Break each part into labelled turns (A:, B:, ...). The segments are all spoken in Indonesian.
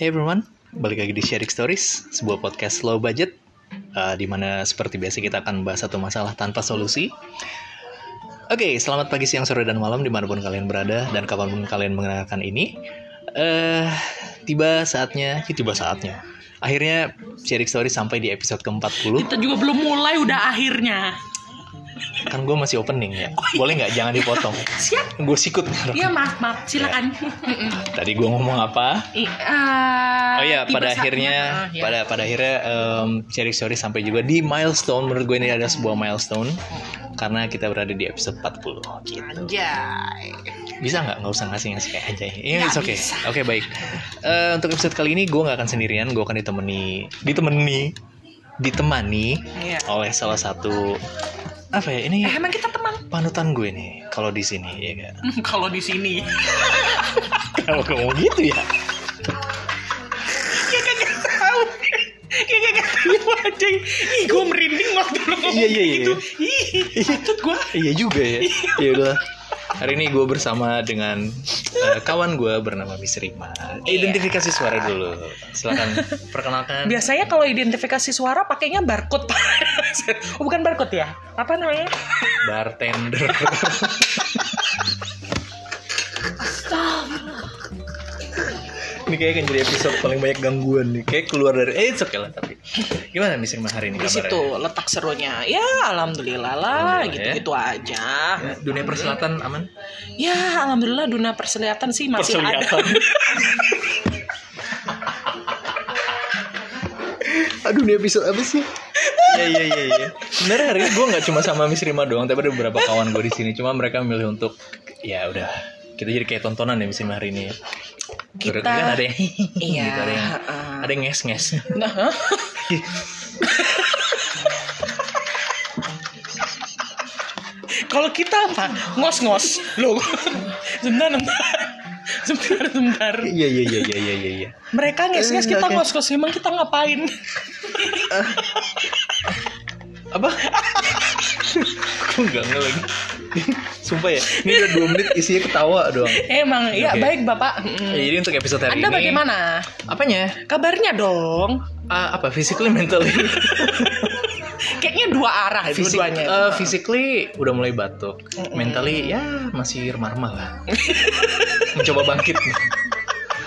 A: Hey everyone, balik lagi di Sharing Stories, sebuah podcast low budget, eh, di mana seperti biasa kita akan bahas satu masalah tanpa solusi. Oke, selamat pagi, siang, sore, dan malam dimanapun kalian berada dan kapanpun kalian mendengarkan ini. eh tiba saatnya, ya, tiba saatnya. Akhirnya Sharing Stories sampai di episode ke-40.
B: Kita juga belum mulai udah akhirnya.
A: Kan gue masih opening ya. Boleh nggak? Jangan dipotong.
B: Siap.
A: Gue sikut.
B: Iya, maaf, maaf. Silakan. Mm-mm.
A: Tadi gue ngomong apa?
B: I- ah,
A: Oh iya,
B: tiba
A: pada
B: saatnya.
A: akhirnya,
B: Ah, ya.
A: pada pada akhirnya em Cherry Story sampai juga di milestone. Menurut gue ini ada sebuah milestone karena kita berada di episode 40. Gitu.
B: Anjay.
A: Bisa nggak? Nggak usah ngasih ngasih kayak aja. Iya, Ini
B: Nggak
A: oke. Oke
B: bisa.
A: baik. Eh, untuk episode kali ini gue nggak akan sendirian. Gue akan ditemani, ditemani, ditemani
B: Iya.
A: oleh salah satu apa ya ini
B: Eh, emang kita teman
A: panutan gue nih kalau di sini ya nggak?
B: Hmm, kalau di sini.
A: Kalau ngomong gitu ya.
B: Ya kagak tahu. Ya kagak tahu anjing. Ih, gue merinding waktu lu ngomong
A: Iya, iya, iya.
B: gitu. Ih, patut gue.
A: Iya juga ya. Iya udah. Hari ini gue bersama dengan eh, kawan gue bernama Miss Rima. Eh,
B: Iya.
A: Identifikasi suara dulu. Silakan perkenalkan.
B: Biasanya kalau identifikasi suara pakainya barcode, Pak. Oh, bukan barcode ya? Apa namanya?
A: Bartender. ini kayak akan jadi episode paling banyak gangguan nih. Kayak keluar dari eh it's okay lah tapi. Gimana Miss Rima hari ini
B: Di
A: kabarnya?
B: situ letak serunya. Ya, alhamdulillah
A: Alhamdulillah,
B: lah,
A: ya.
B: gitu-gitu aja.
A: Ya, Dunia perselatan aman?
B: Ya, alhamdulillah dunia perselihatan sih masih ada.
A: Aduh, ini episode apa sih? Iya iya iya. iya. Sebenarnya hari ini gue nggak cuma sama Miss Rima doang, tapi ada beberapa kawan gue di sini. Cuma mereka milih untuk ya udah kita jadi kayak tontonan ya Miss Rima hari ini. ya.
B: Kita-
A: kan ada yang
B: Iya,
A: gitu, ada yang
B: heeh.
A: ada yang nges nges.
B: Nah, hah? kalau kita apa? Ngos-ngos. Loh, sebentar, sebentar. Sebentar, sebentar.
A: Iya iya iya iya iya iya. iya.
B: Mereka nges-nges
A: Eh,
B: kita
A: oke.
B: ngos-ngos. Emang kita ngapain?
A: Apa? Gue nggak nge lagi. Sumpah ya, ini udah dua menit isinya ketawa doang.
B: Emang, ya
A: Oke.
B: baik Bapak. Mm-mm.
A: Ya, jadi untuk episode hari
B: Anda
A: ini.
B: bagaimana?
A: Apanya?
B: Kabarnya dong.
A: Ah, apa? Physically, mentally?
B: Kayaknya dua arah
A: Fisik-
B: dua-duanya.
A: eh, physically udah mulai batuk, mentally ya masih remah-remah lah. Mencoba bangkit.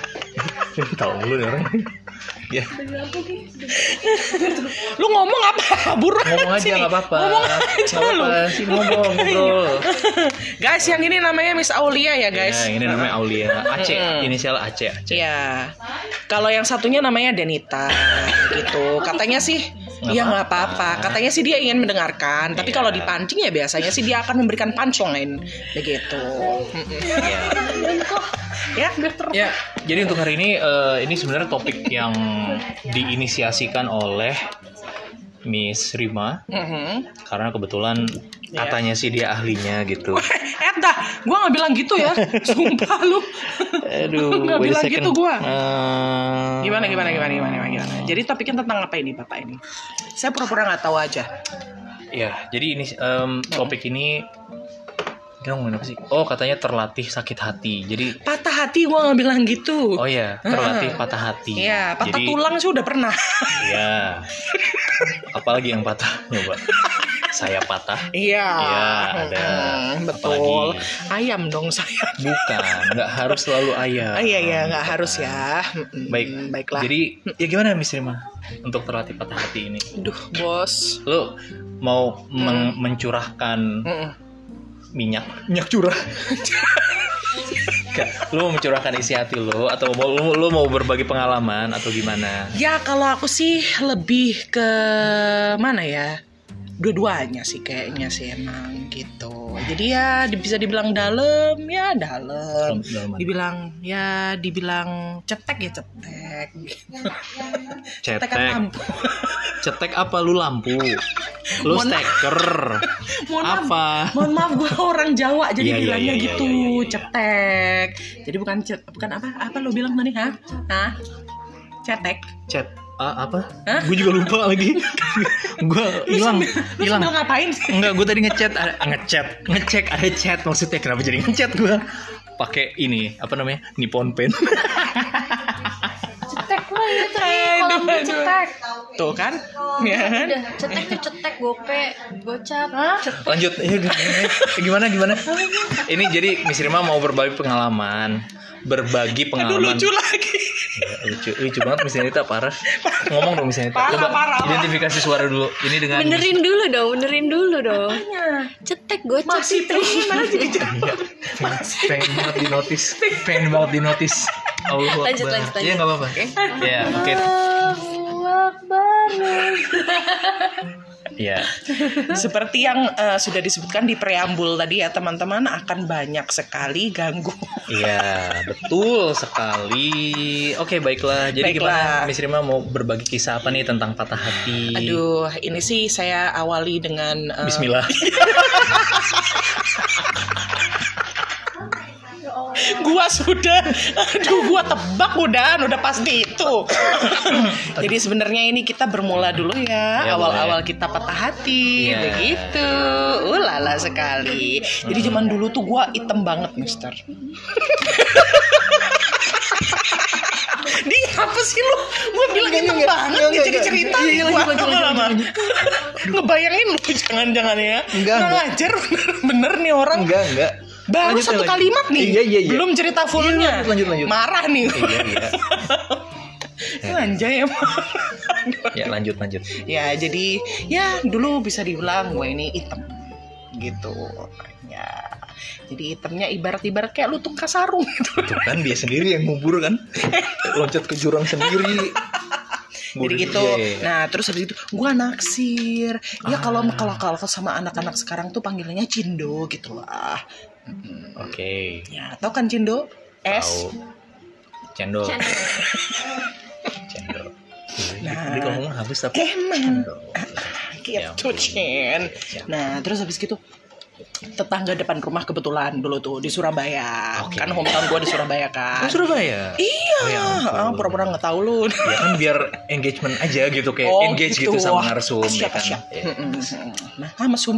A: Tahu lu nih orang. ya,
B: Lu ngomong apa? Buruan
A: ngomong aja
B: sini.
A: nggak apa-apa.
B: Ngomong aja
A: Nggak
B: lu. Iya,
A: apa-apa, sih ngomong ngobrol.
B: Guys, yang ini namanya Miss Aulia ya, guys.
A: Ya, ini namanya Aulia, Aceh,
B: Mm-mm.
A: inisial Aceh. Aceh.
B: Iya. Kalau yang satunya namanya Denita gitu. Katanya sih
A: Nggak
B: ya nggak
A: apa-apa.
B: apa-apa. Katanya sih dia ingin mendengarkan, tapi
A: Iya.
B: kalau dipancing ya biasanya sih dia akan memberikan punchline begitu.
A: Ya.
B: Ya,
A: Ya, jadi untuk hari ini eh, ini sebenarnya topik yang diinisiasikan oleh Miss Rima
B: Mhm.
A: karena kebetulan
B: Iya.
A: katanya sih dia ahlinya gitu.
B: Eh dah, gue nggak bilang gitu ya, sumpah lu.
A: Aduh,
B: Nggak
A: wait a
B: bilang
A: second.
B: gitu gua.
A: Eh,
B: Gimana, gimana, gimana, gimana, gimana, gimana. Jadi topiknya tentang apa ini bapak ini? Saya pura-pura nggak tahu aja.
A: Ya, jadi ini em, topik ini kita ngomongin apa sih? Oh, katanya terlatih sakit hati. Jadi
B: Patah hati gue nggak bilang gitu.
A: oh ya, terlatih patah hati.
B: Iya, patah
A: Jadi,
B: tulang sih udah pernah.
A: Iya. Apalagi yang patah? Coba. Saya patah.
B: Iya,
A: Iya, ada.
B: Mm, betul.
A: Apalagi?
B: Ayam dong saya.
A: Bukan, nggak harus selalu ayah.
B: Ah, iya iya nggak harus ya. Mm,
A: Baik,
B: baiklah. Hmm.
A: Jadi, ya gimana Miss Rima untuk terlatih patah hati ini?
B: Duh bos.
A: Lo mau
B: Hmm.
A: meng- mencurahkan
B: Mm-mm.
A: minyak minyak curah Nggak, lu mau mencurahkan isi hati lu atau mau lu, lu mau berbagi pengalaman atau gimana
B: Ya kalau aku sih lebih ke mana ya? Dua-duanya sih kayaknya sih emang gitu. Jadi ya di- bisa dibilang dalam ya dalam.
A: Dalaman.
B: Dibilang ya dibilang cetek ya cetek. kan
A: cetek
B: Cetekan lampu.
A: cetek apa lu lampu lu
B: Mohon
A: steker
B: Mohon maaf,
A: apa
B: mohon maaf gue orang Jawa jadi
A: Iya, iya,
B: bilangnya
A: iya,
B: gitu
A: iya, iya, iya.
B: cetek jadi bukan cet bukan apa apa lo bilang tadi ha Hah? cetek
A: cet ah, apa
B: Hah?
A: gue juga lupa lagi gue
B: Lu
A: hilang
B: sambil- lu
A: hilang
B: sambil ngapain sih
A: Enggak, gue tadi ngechat, ada- ngechat, ngecek ada chat maksudnya kenapa jadi ngechat gue? Pakai ini apa namanya Nippon Pen.
C: itu tadi kolam gue
B: Aduh,
C: cetek
B: Tuh kan? Ya
A: Iya.
B: kan?
C: udah cetek tuh cetek gope gocap cetek
A: Lanjut. Ya, gimana gimana? Ini jadi Miss Rima mau berbagi pengalaman, berbagi
B: Aduh
A: pengalaman.
B: lucu lagi.
A: Ya, lucu, lucu banget Miss Nita parah. Ngomong dong Miss Nita.
B: Parah, parah, parah.
A: identifikasi suara dulu. Ini dengan
C: benerin dulu dong benerin dulu dong
B: Apanya?
C: Iya. cetek gocap
B: Masih pengen aja dijawab.
A: pengen banget di notice, pengen banget di notice. Allah
C: Lanjut,
A: Akbar.
C: lanjut, lanjut.
A: Iya nggak apa-apa. Iya, oke.
C: Allahu Akbar.
A: Iya.
B: Seperti yang eh, sudah disebutkan di preambul tadi ya teman-teman akan banyak sekali gangguan.
A: Iya, betul sekali. Oke, baiklah. Jadi
B: Baiklah.
A: gimana Miss Rima mau berbagi kisah apa nih tentang patah hati?
B: Aduh, ini sih saya awali dengan eh,
A: Iya. Bismillah.
B: gua sudah aduh gua tebak udah udah pasti itu jadi sebenarnya ini kita bermula dulu ya
A: Ya,
B: awal-awal kita patah hati
A: Ya.
B: begitu ulala sekali jadi zaman dulu tuh gua item banget mister Di apa sih lu? Gua bilang item banget nih jadi cerita
A: Iya,
B: nih gua lama-lama. Ngebayangin lu jangan-jangan ya.
A: Enggak,
B: Nggak
A: enggak.
B: ngajar bener-bener nih orang.
A: Enggak, enggak.
B: Baru
A: Lanjut,
B: satu
A: lanjut.
B: kalimat nih,
A: Iya, iya, iya.
B: belum cerita fullnya.
A: Iya, lanjut, lanjut, lanjut.
B: Marah nih.
A: Iya, iya.
B: Anjay emang.
A: Ya, lanjut, lanjut.
B: ya jadi ya dulu bisa dibilang gue ini item gitu. Ya jadi itemnya ibarat-ibarat kayak lu tukang sarung gitu.
A: Tuh kan dia sendiri yang ngubur kan. Loncat ke jurang sendiri. Iya,
B: Jadi
A: Bodoh
B: gitu.
A: dia.
B: Nah, terus habis itu gua naksir. Ya kalau
A: Ah.
B: kalau kalau sama anak-anak sekarang tuh panggilannya cindo gitu lah. Mm-mm.
A: Oke.
B: Ya, tau kan cindo?
A: Tahu.
B: S.
A: Cendol. Cendol.
B: Nah. Eh,
A: Nah. Dia ngomong habis tapi
B: Emang. Ah,
A: cendol. Ya
B: gitu
A: ampun.
B: Cin.
A: Siap.
B: Nah terus habis gitu tetangga depan rumah kebetulan dulu tuh di Surabaya
A: Oke.
B: kan hometown gua di Surabaya kan
A: Oh, Surabaya.
B: iya
A: Oh, ya ampun.
B: ah, pura-pura nggak tahu lu
A: Ya kan biar engagement aja gitu kayak
B: Oh,
A: engage gitu,
B: gitu.
A: sama narsum ya
B: siap
A: kan.
B: siap
A: Ya,
B: Mm-mm. nah sama sum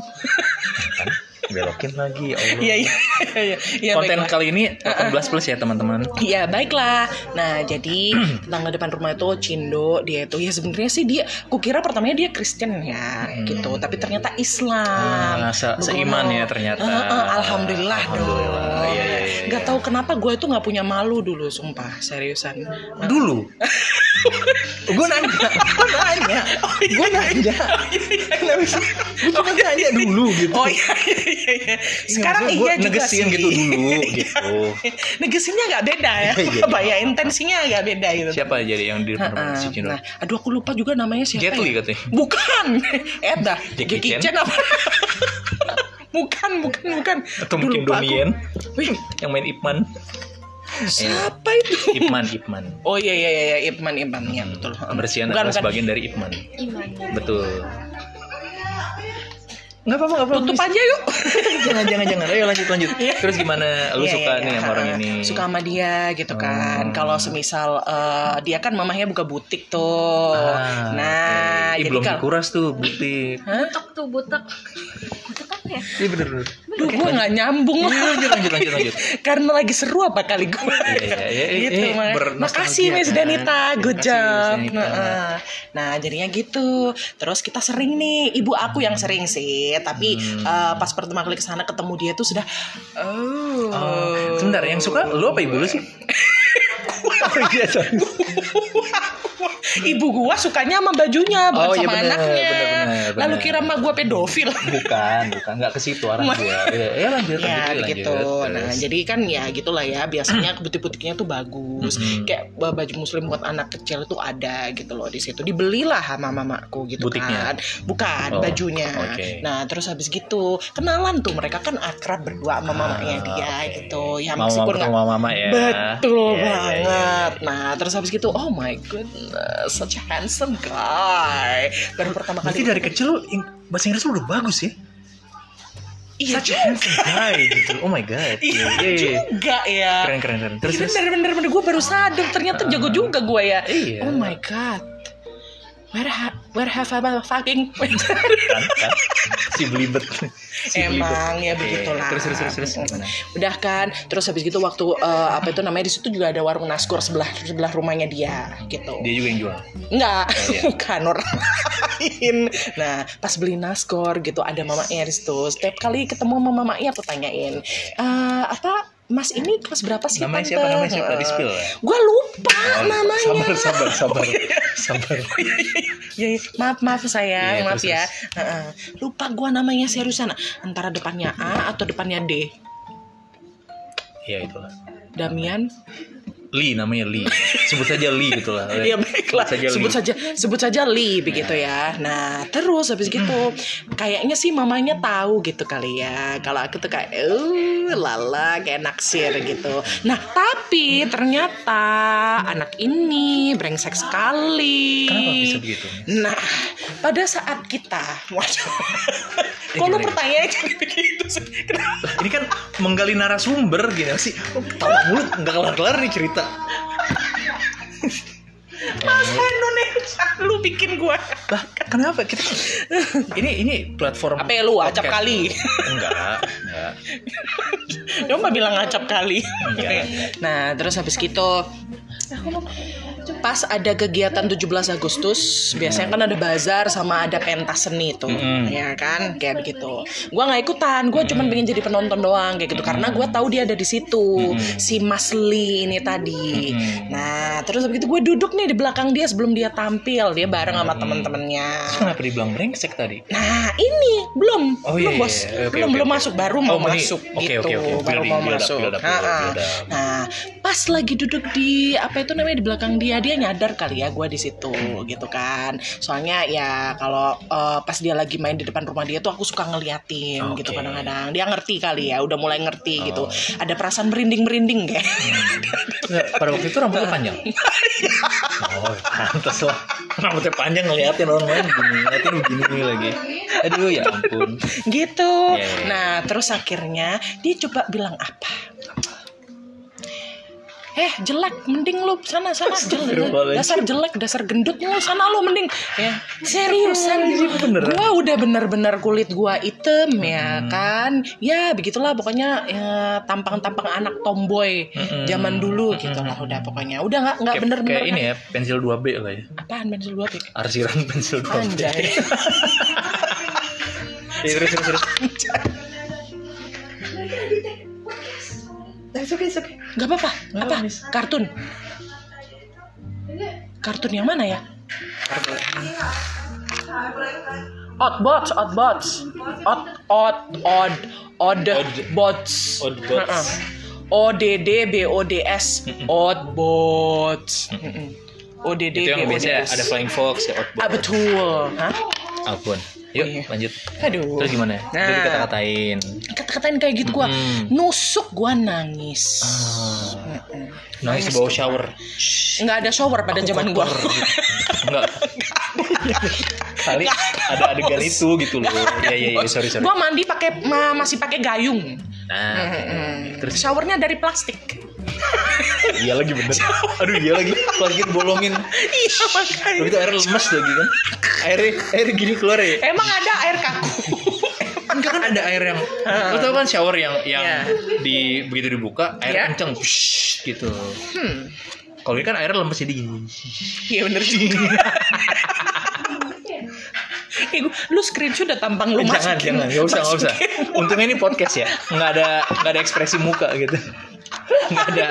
A: kan? Belokin lagi ya Allah.
B: iya iya iya iya
A: Konten
B: baiklah.
A: kali ini 18 plus ya teman-teman.
B: Iya baiklah. Nah jadi tetangga depan rumah itu Cindo dia itu ya sebenarnya sih dia, kukira pertamanya dia Kristen ya
A: Hmm.
B: gitu, tapi ternyata
A: Ah,
B: Islam.
A: se-
B: Nugroho.
A: seiman ya ternyata.
B: Eh, eh, alhamdulillah,
A: Alhamdulillah,
B: dong.
A: iya, iya, iya,
B: Nggak
A: iya.
B: tahu kenapa gue itu nggak punya malu dulu, sumpah seriusan.
A: Dulu.
B: Ah,
A: gue nanya, gue nanya,
B: Oh, iya.
A: gue nanya, gue cuma nanya dulu gitu.
B: Oh iya iya iya. iya. Sekarang
A: Maksudnya gua
B: iya juga sih.
A: negesin
B: Iya.
A: gitu dulu gitu.
B: Negesinnya agak beda ya.
A: Iya, iya.
B: Bayar intensinya agak beda gitu.
A: Siapa jadi yang di depan rumah si Cino?
B: Nah, aduh aku lupa juga namanya siapa.
A: Jet Li
B: ya?
A: katanya.
B: Bukan. Eh dah,
A: Jackie
B: Jackie
A: Chan?
B: Chan apa? bukan, bukan, bukan.
A: Atau
B: Aduh,
A: mungkin Eh.
B: lupa aku.
A: Donien
B: Wih,
A: yang main Ipman.
B: siapa itu?
A: Ipman, Ipman.
B: Oh iya iya iya Ipman Ipman ya betul.
A: Pembersihan
B: Bukan,
A: adalah
B: bukan.
A: sebagian dari Ipman.
C: Iman.
A: Betul. Nggak apa-apa, nggak
B: Tutup aja yuk.
A: jangan, jangan, jangan. Ayo lanjut, lanjut. Terus gimana? Lu
B: Iya,
A: suka
B: iya, iya.
A: nih sama orang ini? Ah, Oh.
B: Suka sama dia gitu kan. Kalau semisal eh, dia kan mamahnya buka butik tuh.
A: Ah,
B: nah,
A: oke. Ih,
B: jadi
A: belum
B: kalau
A: dikuras tuh butik.
C: Butek tuh butek. Butek apa ya?
A: Iya bener bener.
B: Duh, gue nggak nyambung.
A: Iya, Lanjut lanjut lanjut lanjut.
B: Karena lagi seru apa kali gue.
A: Iya, iya, iya,
B: gitu.
A: iya,
B: makanya.
A: bernostalgia,
B: Makasih Miss
A: kan?
B: Danita,
A: Terima kasih, Miss
B: good job.
A: Danita.
B: Nah, nah, jadinya gitu. Terus kita sering nih, ibu aku yang sering sih. Tapi
A: Hmm.
B: eh, pas pertama kali kesana ketemu dia tuh sudah. Oh.
A: Oh, sebentar, yang suka lu apa ibu lu sih? Oh, iya, sorry.
B: ibu gua sukanya sama bajunya bukan
A: Oh, iya,
B: sama
A: bener,
B: anaknya.
A: bener, bener, bener.
B: Lalu kira mah gua pedofil.
A: bukan, bukan nggak ke situ arah gua. Iya, iya, lanjut lanjut.
B: Ya
A: iya, lanjut.
B: gitu. Nah
A: Terus.
B: jadi kan ya gitulah ya. Biasanya butik-butiknya tuh bagus.
A: Mm-mm.
B: Kayak baju muslim buat anak kecil tuh ada gitu loh di situ. Dibelilah sama mamaku gitu
A: Butiknya?
B: kan. Bukan
A: Oh,
B: bajunya.
A: oke.
B: Nah terus habis gitu kenalan tuh mereka kan akrab berdua sama
A: Ah,
B: mamanya dia
A: oke.
B: gitu. Ya
A: Mama
B: meskipun nggak-
A: ketemu mama ya.
B: Betul
A: Iya, iya, iya,
B: banget. Nah, terus habis gitu, oh my goodness, such a handsome guy. Baru pertama
A: Berarti
B: kali.
A: dari kecil lu ing- bahasa Inggris lu udah bagus ya.
B: Iya
A: Such a
B: juga.
A: handsome guy gitu. Oh my god.
B: Iya
A: Iya, iya, iya.
B: juga ya.
A: Keren keren keren. Terus terus.
B: Bener-bener bener gue baru sadar ternyata jago juga gue ya.
A: Iya.
B: Oh my god. Where ha- Where have I been fucking?
A: kan, kan? si belibet si
B: Emang ya
A: Oke,
B: begitulah.
A: Iya. terus terus terus terus gimana?
B: Udah kan, terus habis gitu waktu eh, apa itu namanya di situ juga ada warung nasgor sebelah sebelah rumahnya dia gitu.
A: dia juga yang jual
B: Enggak,
A: Oh, iya.
B: bukan orang lain. Nah, pas beli naskor gitu ada mamanya di situ. Setiap kali ketemu sama mamanya aku tanyain, "Eh, apa Mas ini kelas berapa sih?
A: namanya
B: Tante?"
A: siapa namanya siapa
B: Eh,
A: di spill ya?
B: Gua lupa
A: Oh, sabar
B: namanya.
A: sabar
B: Oh,
A: sabar
B: iya.
A: sabar
B: Ya, ya. maaf maaf
A: Iya,
B: sayang, maaf
A: terus,
B: ya. Heeh. lupa gua namanya seriusan. Antara depannya A atau depannya D.
A: ya itulah
B: Damian.
A: Lee namanya Lee sebut saja Lee gitulah
B: Iya baiklah.
A: Sebut saja
B: Sebut
A: Lee.
B: saja sebut saja Li
A: Iya.
B: begitu ya. Nah, terus habis gitu kayaknya sih mamanya tahu gitu kali ya. Kalau aku tuh kayak eh lala kayak naksir gitu. Nah, tapi ternyata anak ini brengsek sekali.
A: kenapa bisa begitu
B: Nah, pada saat kita, waduh,
A: Eh,
B: kok
A: gimana,
B: lu
A: gimana?
B: pertanyaannya jadi begitu sih? Kenapa?
A: Lah, ini kan menggali narasumber gini sih Oh, tahu mulut nggak kelar kelar nih cerita Nah,
B: Bahasa Indonesia lu bikin gua
A: lah kan kenapa kita ini ini platform
B: apa ya lu acap
A: podcast.
B: kali?
A: enggak enggak
B: Dia mah bilang acap kali.
A: Iya.
B: Nah, terus habis gitu pas ada kegiatan 17 Agustus biasanya kan ada bazar sama ada pentas seni tuh
A: Mm-mm.
B: ya kan kayak begitu gua nggak ikutan gua cuman pengen jadi penonton doang kayak gitu karena gua tahu dia ada di situ
A: Mm-mm.
B: si Mas Lee ini tadi
A: Mm-mm.
B: nah terus habis itu gue duduk nih di belakang dia sebelum dia tampil dia bareng sama temen-temennya
A: Terus kenapa dibilang brengsek tadi
B: nah ini belum
A: Oh,
B: belum
A: iya,
B: bos
A: iya, oke,
B: belum
A: oke,
B: belum
A: oke.
B: masuk baru
A: Oh,
B: mau
A: ini-
B: masuk
A: oke,
B: gitu
A: oke, oke.
B: baru
A: Build
B: mau
A: up, build up,
B: masuk
A: build up,
B: Ha-ha.
A: build up, build up.
B: nah pas lagi duduk di apa itu namanya di belakang dia dia nyadar kali ya gue di situ gitu kan soalnya ya kalau eh, pas dia lagi main di depan rumah dia tuh aku suka ngeliatin
A: Oke.
B: gitu kadang-kadang dia ngerti kali ya udah mulai ngerti
A: Oh. Iya,
B: gitu ada perasaan merinding merinding kayak
A: Nggak, pada waktu itu rambutnya panjang oh pantas lah rambutnya panjang ngeliatin orang lain begini ngeliatin begini lagi aduh ya ampun
B: gitu.
A: Iya, iya.
B: Nah, terus akhirnya dia coba bilang apa? Eh, jelek, mending lu sana sana jelek.
A: Astagfirullahaladzim.
B: Dasar jelek, dasar gendut lu sana lu mending. Ya, seriusan
A: Iya, beneran. Hmm.
B: gua udah bener-bener kulit gua item ya kan. Ya, begitulah pokoknya ya, tampang-tampang anak tomboy
A: Mm-mm.
B: zaman dulu gitu lah udah pokoknya. Udah nggak nggak
A: Hmm. Kayak-
B: bener-bener kan?
A: kayak ini ya pensil 2B lah ya
B: apaan pensil dua pik?
A: arsiran pensil 2B
B: Anjay.
A: Ya, terus terus terus
B: Nah, Gak apa-apa. Apa? Kartun. Kartun yang mana ya? Outbots, Outbots. Out, out, odd, odd, bots.
A: Oddbots.
B: Heeh. ODD, BODS, Outbots. ODD,
A: itu yang biasanya
B: BODS.
A: ada flying fox ya outboard
B: Ah, betul. Hah?
A: outboard yuk
B: Oh, iya.
A: lanjut
B: Aduh.
A: terus gimana ya?
B: Nah.
A: Udah dikata-katain
B: Kata-katain kayak gitu gua.
A: Mm.
B: Nusuk gua nangis.
A: Ah.
B: Heeh.
A: nangis di bawah shower
B: nggak ada shower pada zaman gua.
A: enggak kali ada adegan itu gitu loh ya ya ya sorry sorry
B: Gua mandi pakai ma- masih pakai gayung.
A: nah
B: Mm-mm.
A: terus
B: showernya dari plastik.
A: iya lagi bener aduh iya lagi lagi bolongin
B: iya
A: Lalu itu
B: makanya.
A: air lemes lagi kan airnya air gini keluar ya
B: Emang ada air kaku.
A: enggak kan ada air yang lo tau kan shower yang yang
B: Iya.
A: di begitu dibuka air
B: Iya.
A: kenceng whoosh, gitu
B: Hmm.
A: kalau ini kan air lemes jadi gini
B: Iya bener sih. Eh, gua- lu screenshot udah tampang lu
A: Eh, jangan
B: masukin.
A: jangan nggak usah nggak usah
B: Masukin.
A: untungnya ini podcast ya nggak ada nggak ada ekspresi muka gitu nggak ada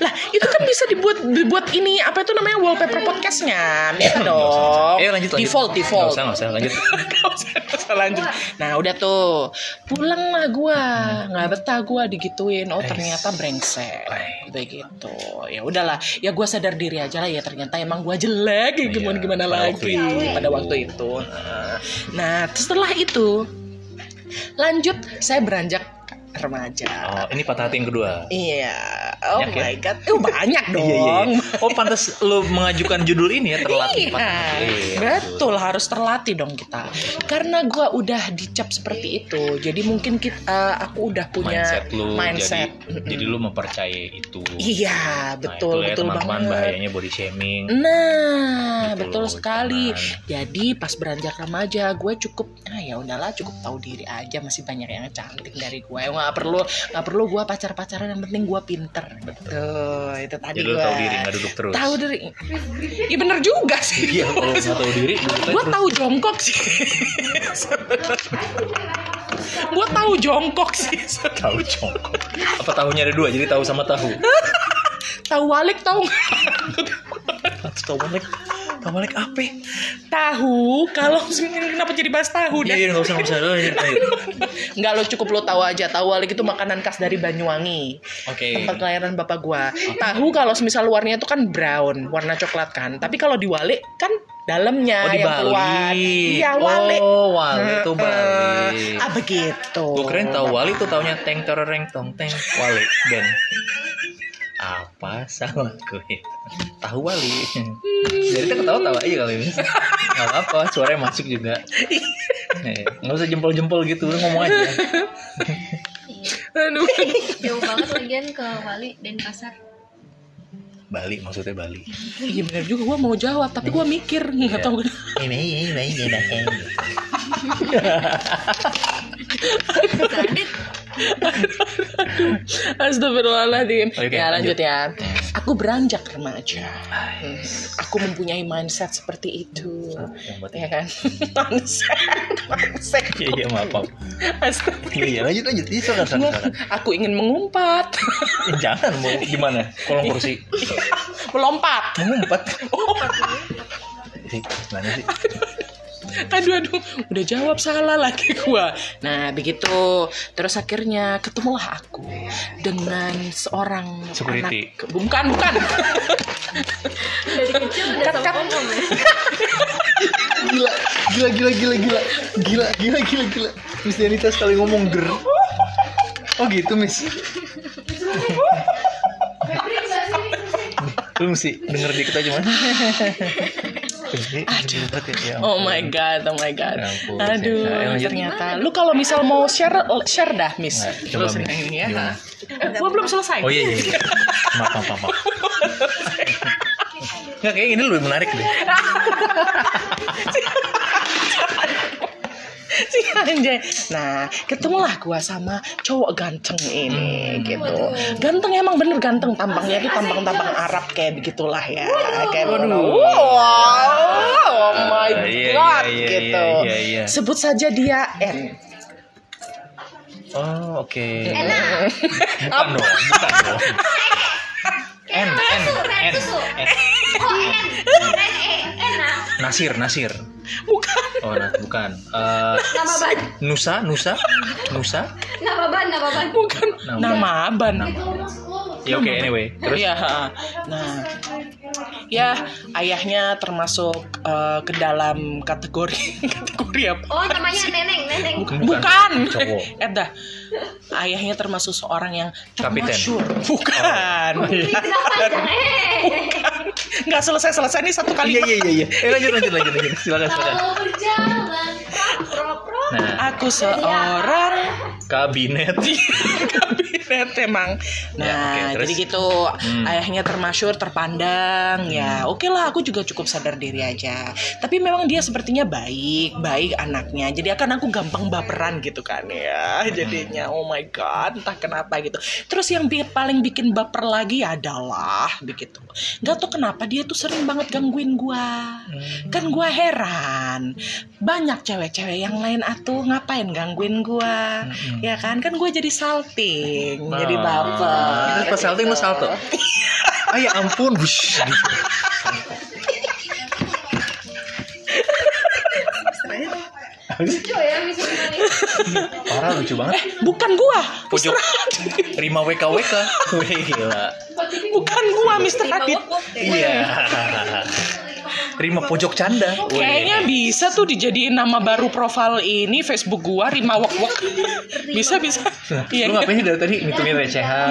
B: lah itu kan bisa dibuat dibuat ini apa itu namanya wallpaper podcastnya bisa dong
A: eh lanjut lanjut
B: default default
A: nggak usah nggak usah lanjut
B: Nggak usah, nggak usah lanjut. Nah udah tuh pulang lah gue
A: Hmm.
B: nggak betah gue digituin. Oh
A: Nice.
B: ternyata brengsek
A: Baik.
B: begitu. Ya udahlah ya gue sadar diri aja lah ya ternyata emang gue jelek ya
A: Iya,
B: gimana gimana
A: pada
B: lagi
A: waktu itu.
B: pada waktu itu. Nah setelah itu lanjut saya beranjak remaja.
A: Eh, oh, ini patah hati yang kedua
B: Iya, Oh
A: Banyak ya?
B: my god, oh banyak dong.
A: Iya, iya, iya. Oh pantas lu mengajukan judul ini ya terlatih
B: Iya,
A: patah tulis.
B: betul harus terlatih dong kita. Karena gua udah dicap seperti itu, jadi mungkin kita, eh, aku udah punya
A: Mindset lu
B: mindset.
A: jadi
B: Mm-mm.
A: jadi lu mempercayai itu.
B: Iya
A: nah, itu
B: betul
A: ya
B: betul
A: teman-teman
B: banget.
A: bahayanya body shaming.
B: Nah,
A: Gitu
B: betul
A: loh,
B: sekali.
A: teman.
B: Jadi pas beranjak remaja, gue cukup, ah ya udahlah, cukup tahu diri aja. Masih banyak yang cantik dari gue. Nggak perlu, nggak perlu gue pacar pacaran. Yang penting gue pinter. Gitu, itu tadi
A: Jadi lu
B: gue.
A: tahu diri nggak duduk terus.
B: Tahu diri. Iya bener juga sih.
A: Iya, kalau nggak tahu diri duduk aja
B: Gue
A: terus.
B: tahu jongkok sih. gue tahu jongkok sih.
A: Tahu jongkok. Apa tahunya ada dua, jadi tahu sama tahu.
B: Tahu walik tahu nggak?
A: tahu balik, tahu balik apa?
B: Tahu. Kalau kenapa jadi bahas tahu?
A: Iya,
B: dah?
A: iya, nggak usah, nggak usah. Lanjut, lanjut.
B: Enggak lo cukup lo tahu aja tahu walik itu makanan khas dari Banyuwangi
A: Oke.
B: tempat kelahiran bapak gua tahu kalau semisal luarnya itu kan brown warna coklat kan tapi kalau di walik kan dalamnya
A: Oh di
B: yang keluar
A: Bali.
B: iya walik
A: Oh, Wali itu Bali.
B: Heeh. ah begitu
A: Gue keren tahu Wali tuh taunya teng tereng tong teng Wali dan apa salah gue tahu Wali. Jadi kita ketawa tawa aja kali ini. Gak apa-apa, suaranya masuk juga. Eh, Nggak usah jempol-jempol gitu, lu ngomong aja.
B: aduh
C: Jauh banget lagian ke Wali dan pasar.
A: Bali maksudnya Bali.
B: Oh, iya benar juga gua mau jawab tapi gua mikir
A: Iya.
B: nggak tahu kenapa.
A: Ini ini ini ini.
C: Kadit.
B: Astagfirullahaladzim
A: Oke,
B: ya lanjut
A: lanjut. Ya.
B: ya aku beranjak remaja aku mempunyai mindset seperti itu ya kan
A: Hmm.
B: mindset mindset
A: Iya iya maaf. maaf.
B: Astaga.
A: Iya iya lanjut lanjut. Iya silakan silakan.
B: Gua-
A: silakan.
B: aku ingin mengumpat
A: Eh, Jangan mau gimana? Kolong kursi.
B: melompat
A: Empat. Sih, Iya, gimana sih?
B: aduh aduh Kan udah jawab salah lagi gua nah begitu terus akhirnya ketemulah aku dengan seorang
A: Security.
B: anak bukan bukan
C: Dari kecil udah sama ngomong ya.
A: gila gila gila gila gila gila gila gila gila Miss Danita sekali ngomong ger oh gitu Miss lu mesti denger dikit aja mas
B: oh my god oh my god
A: Ya ampun,
B: aduh
A: Sinta. Emang jadi-
B: ternyata lu kalau misal mau share share dah miss
A: Nah,
B: lu
A: coba,
B: sering
A: Miss.
B: ini ya
A: Gimana?
B: Eh, gua belum selesai
A: oh iya iya iya. maaf maaf maaf, maaf Nggak, kayaknya ini lebih menarik deh
B: si anjay. Nah, ketemulah gua sama cowok ganteng ini gitu. Ganteng emang bener ganteng tampangnya tuh tampang-tampang Arab kayak begitulah ya. Kayak begitu. Wow, oh my
A: Ah, iya, iya,
B: god
A: iya,
B: gitu.
A: iya, iya.
B: Sebut saja dia N.
A: oh oke
C: Enak.
A: bukan dong bukan dong N N N N
C: Oh, en. En, e, enak.
A: Nasir Nasir
B: Bukan
A: oh nah, bukan Eh,
C: Nama ban.
A: Nusa Nusa Nusa
C: Nama ban, nama ban.
B: bukan
A: Nama.
B: nama Aban.
A: Ya oke anyway. Terus
B: Iya, ha. nah, ya ayahnya termasuk eh, ke dalam kategori kategori apa?
C: Oh, namanya Neneng, Neneng.
B: Bukan.
A: Cowok.
B: Eh dah. Ayahnya termasuk seorang yang
A: Kapiten. Oh. iya.
B: termasyur. Bukan.
C: Kenapa jangan eh?
B: Nggak selesai-selesai nih satu kali.
A: Iya iya iya iya. Eh lanjut lanjut lanjut lanjut. Silakan silakan.
C: Kalau berjalan, pro-pro.
A: Nah,
B: Aku seorang
A: kabinet.
B: kabinet emang. Nah,
A: Ya, oke, terus?
B: jadi gitu
A: Hmm.
B: ayahnya termasyur, terpandang. Ya, oke lah, aku juga cukup sadar diri aja. Tapi memang dia sepertinya baik, baik anaknya. Jadi akan aku gampang baperan gitu kan ya.
A: Hmm.
B: Jadinya oh my god, entah kenapa gitu. Terus yang bi- paling bikin baper lagi adalah begitu. Gak tau kenapa dia tuh sering banget gangguin gua.
A: Hmm.
B: Kan gua heran. Banyak cewek-cewek yang lain atuh ngapain gangguin gua.
A: Mm-mm.
B: Ya kan kan gue jadi salting,
A: Hmm. Nah.
B: jadi baper.
A: Terus pas salting lu salto. Ah ya ampun. Wush.
C: Lucu ya, bisa menarik.
A: Parah lucu banget.
B: Bukan gua,
A: Pojok.
B: Mr. Adit.
A: Terima WKWK. Wih gila.
C: ya.
B: Bukan gua, Mr. Adit.
C: Wok-wok deh.
A: Iya. Rima Pojok Canda. Weh.
B: Kayaknya bisa tuh dijadiin nama baru profil ini Facebook gua Rima Wok Wok. bisa bisa.
A: Nah,
B: Iya.
A: lu ngapain sih dari tadi ngitungin recehan,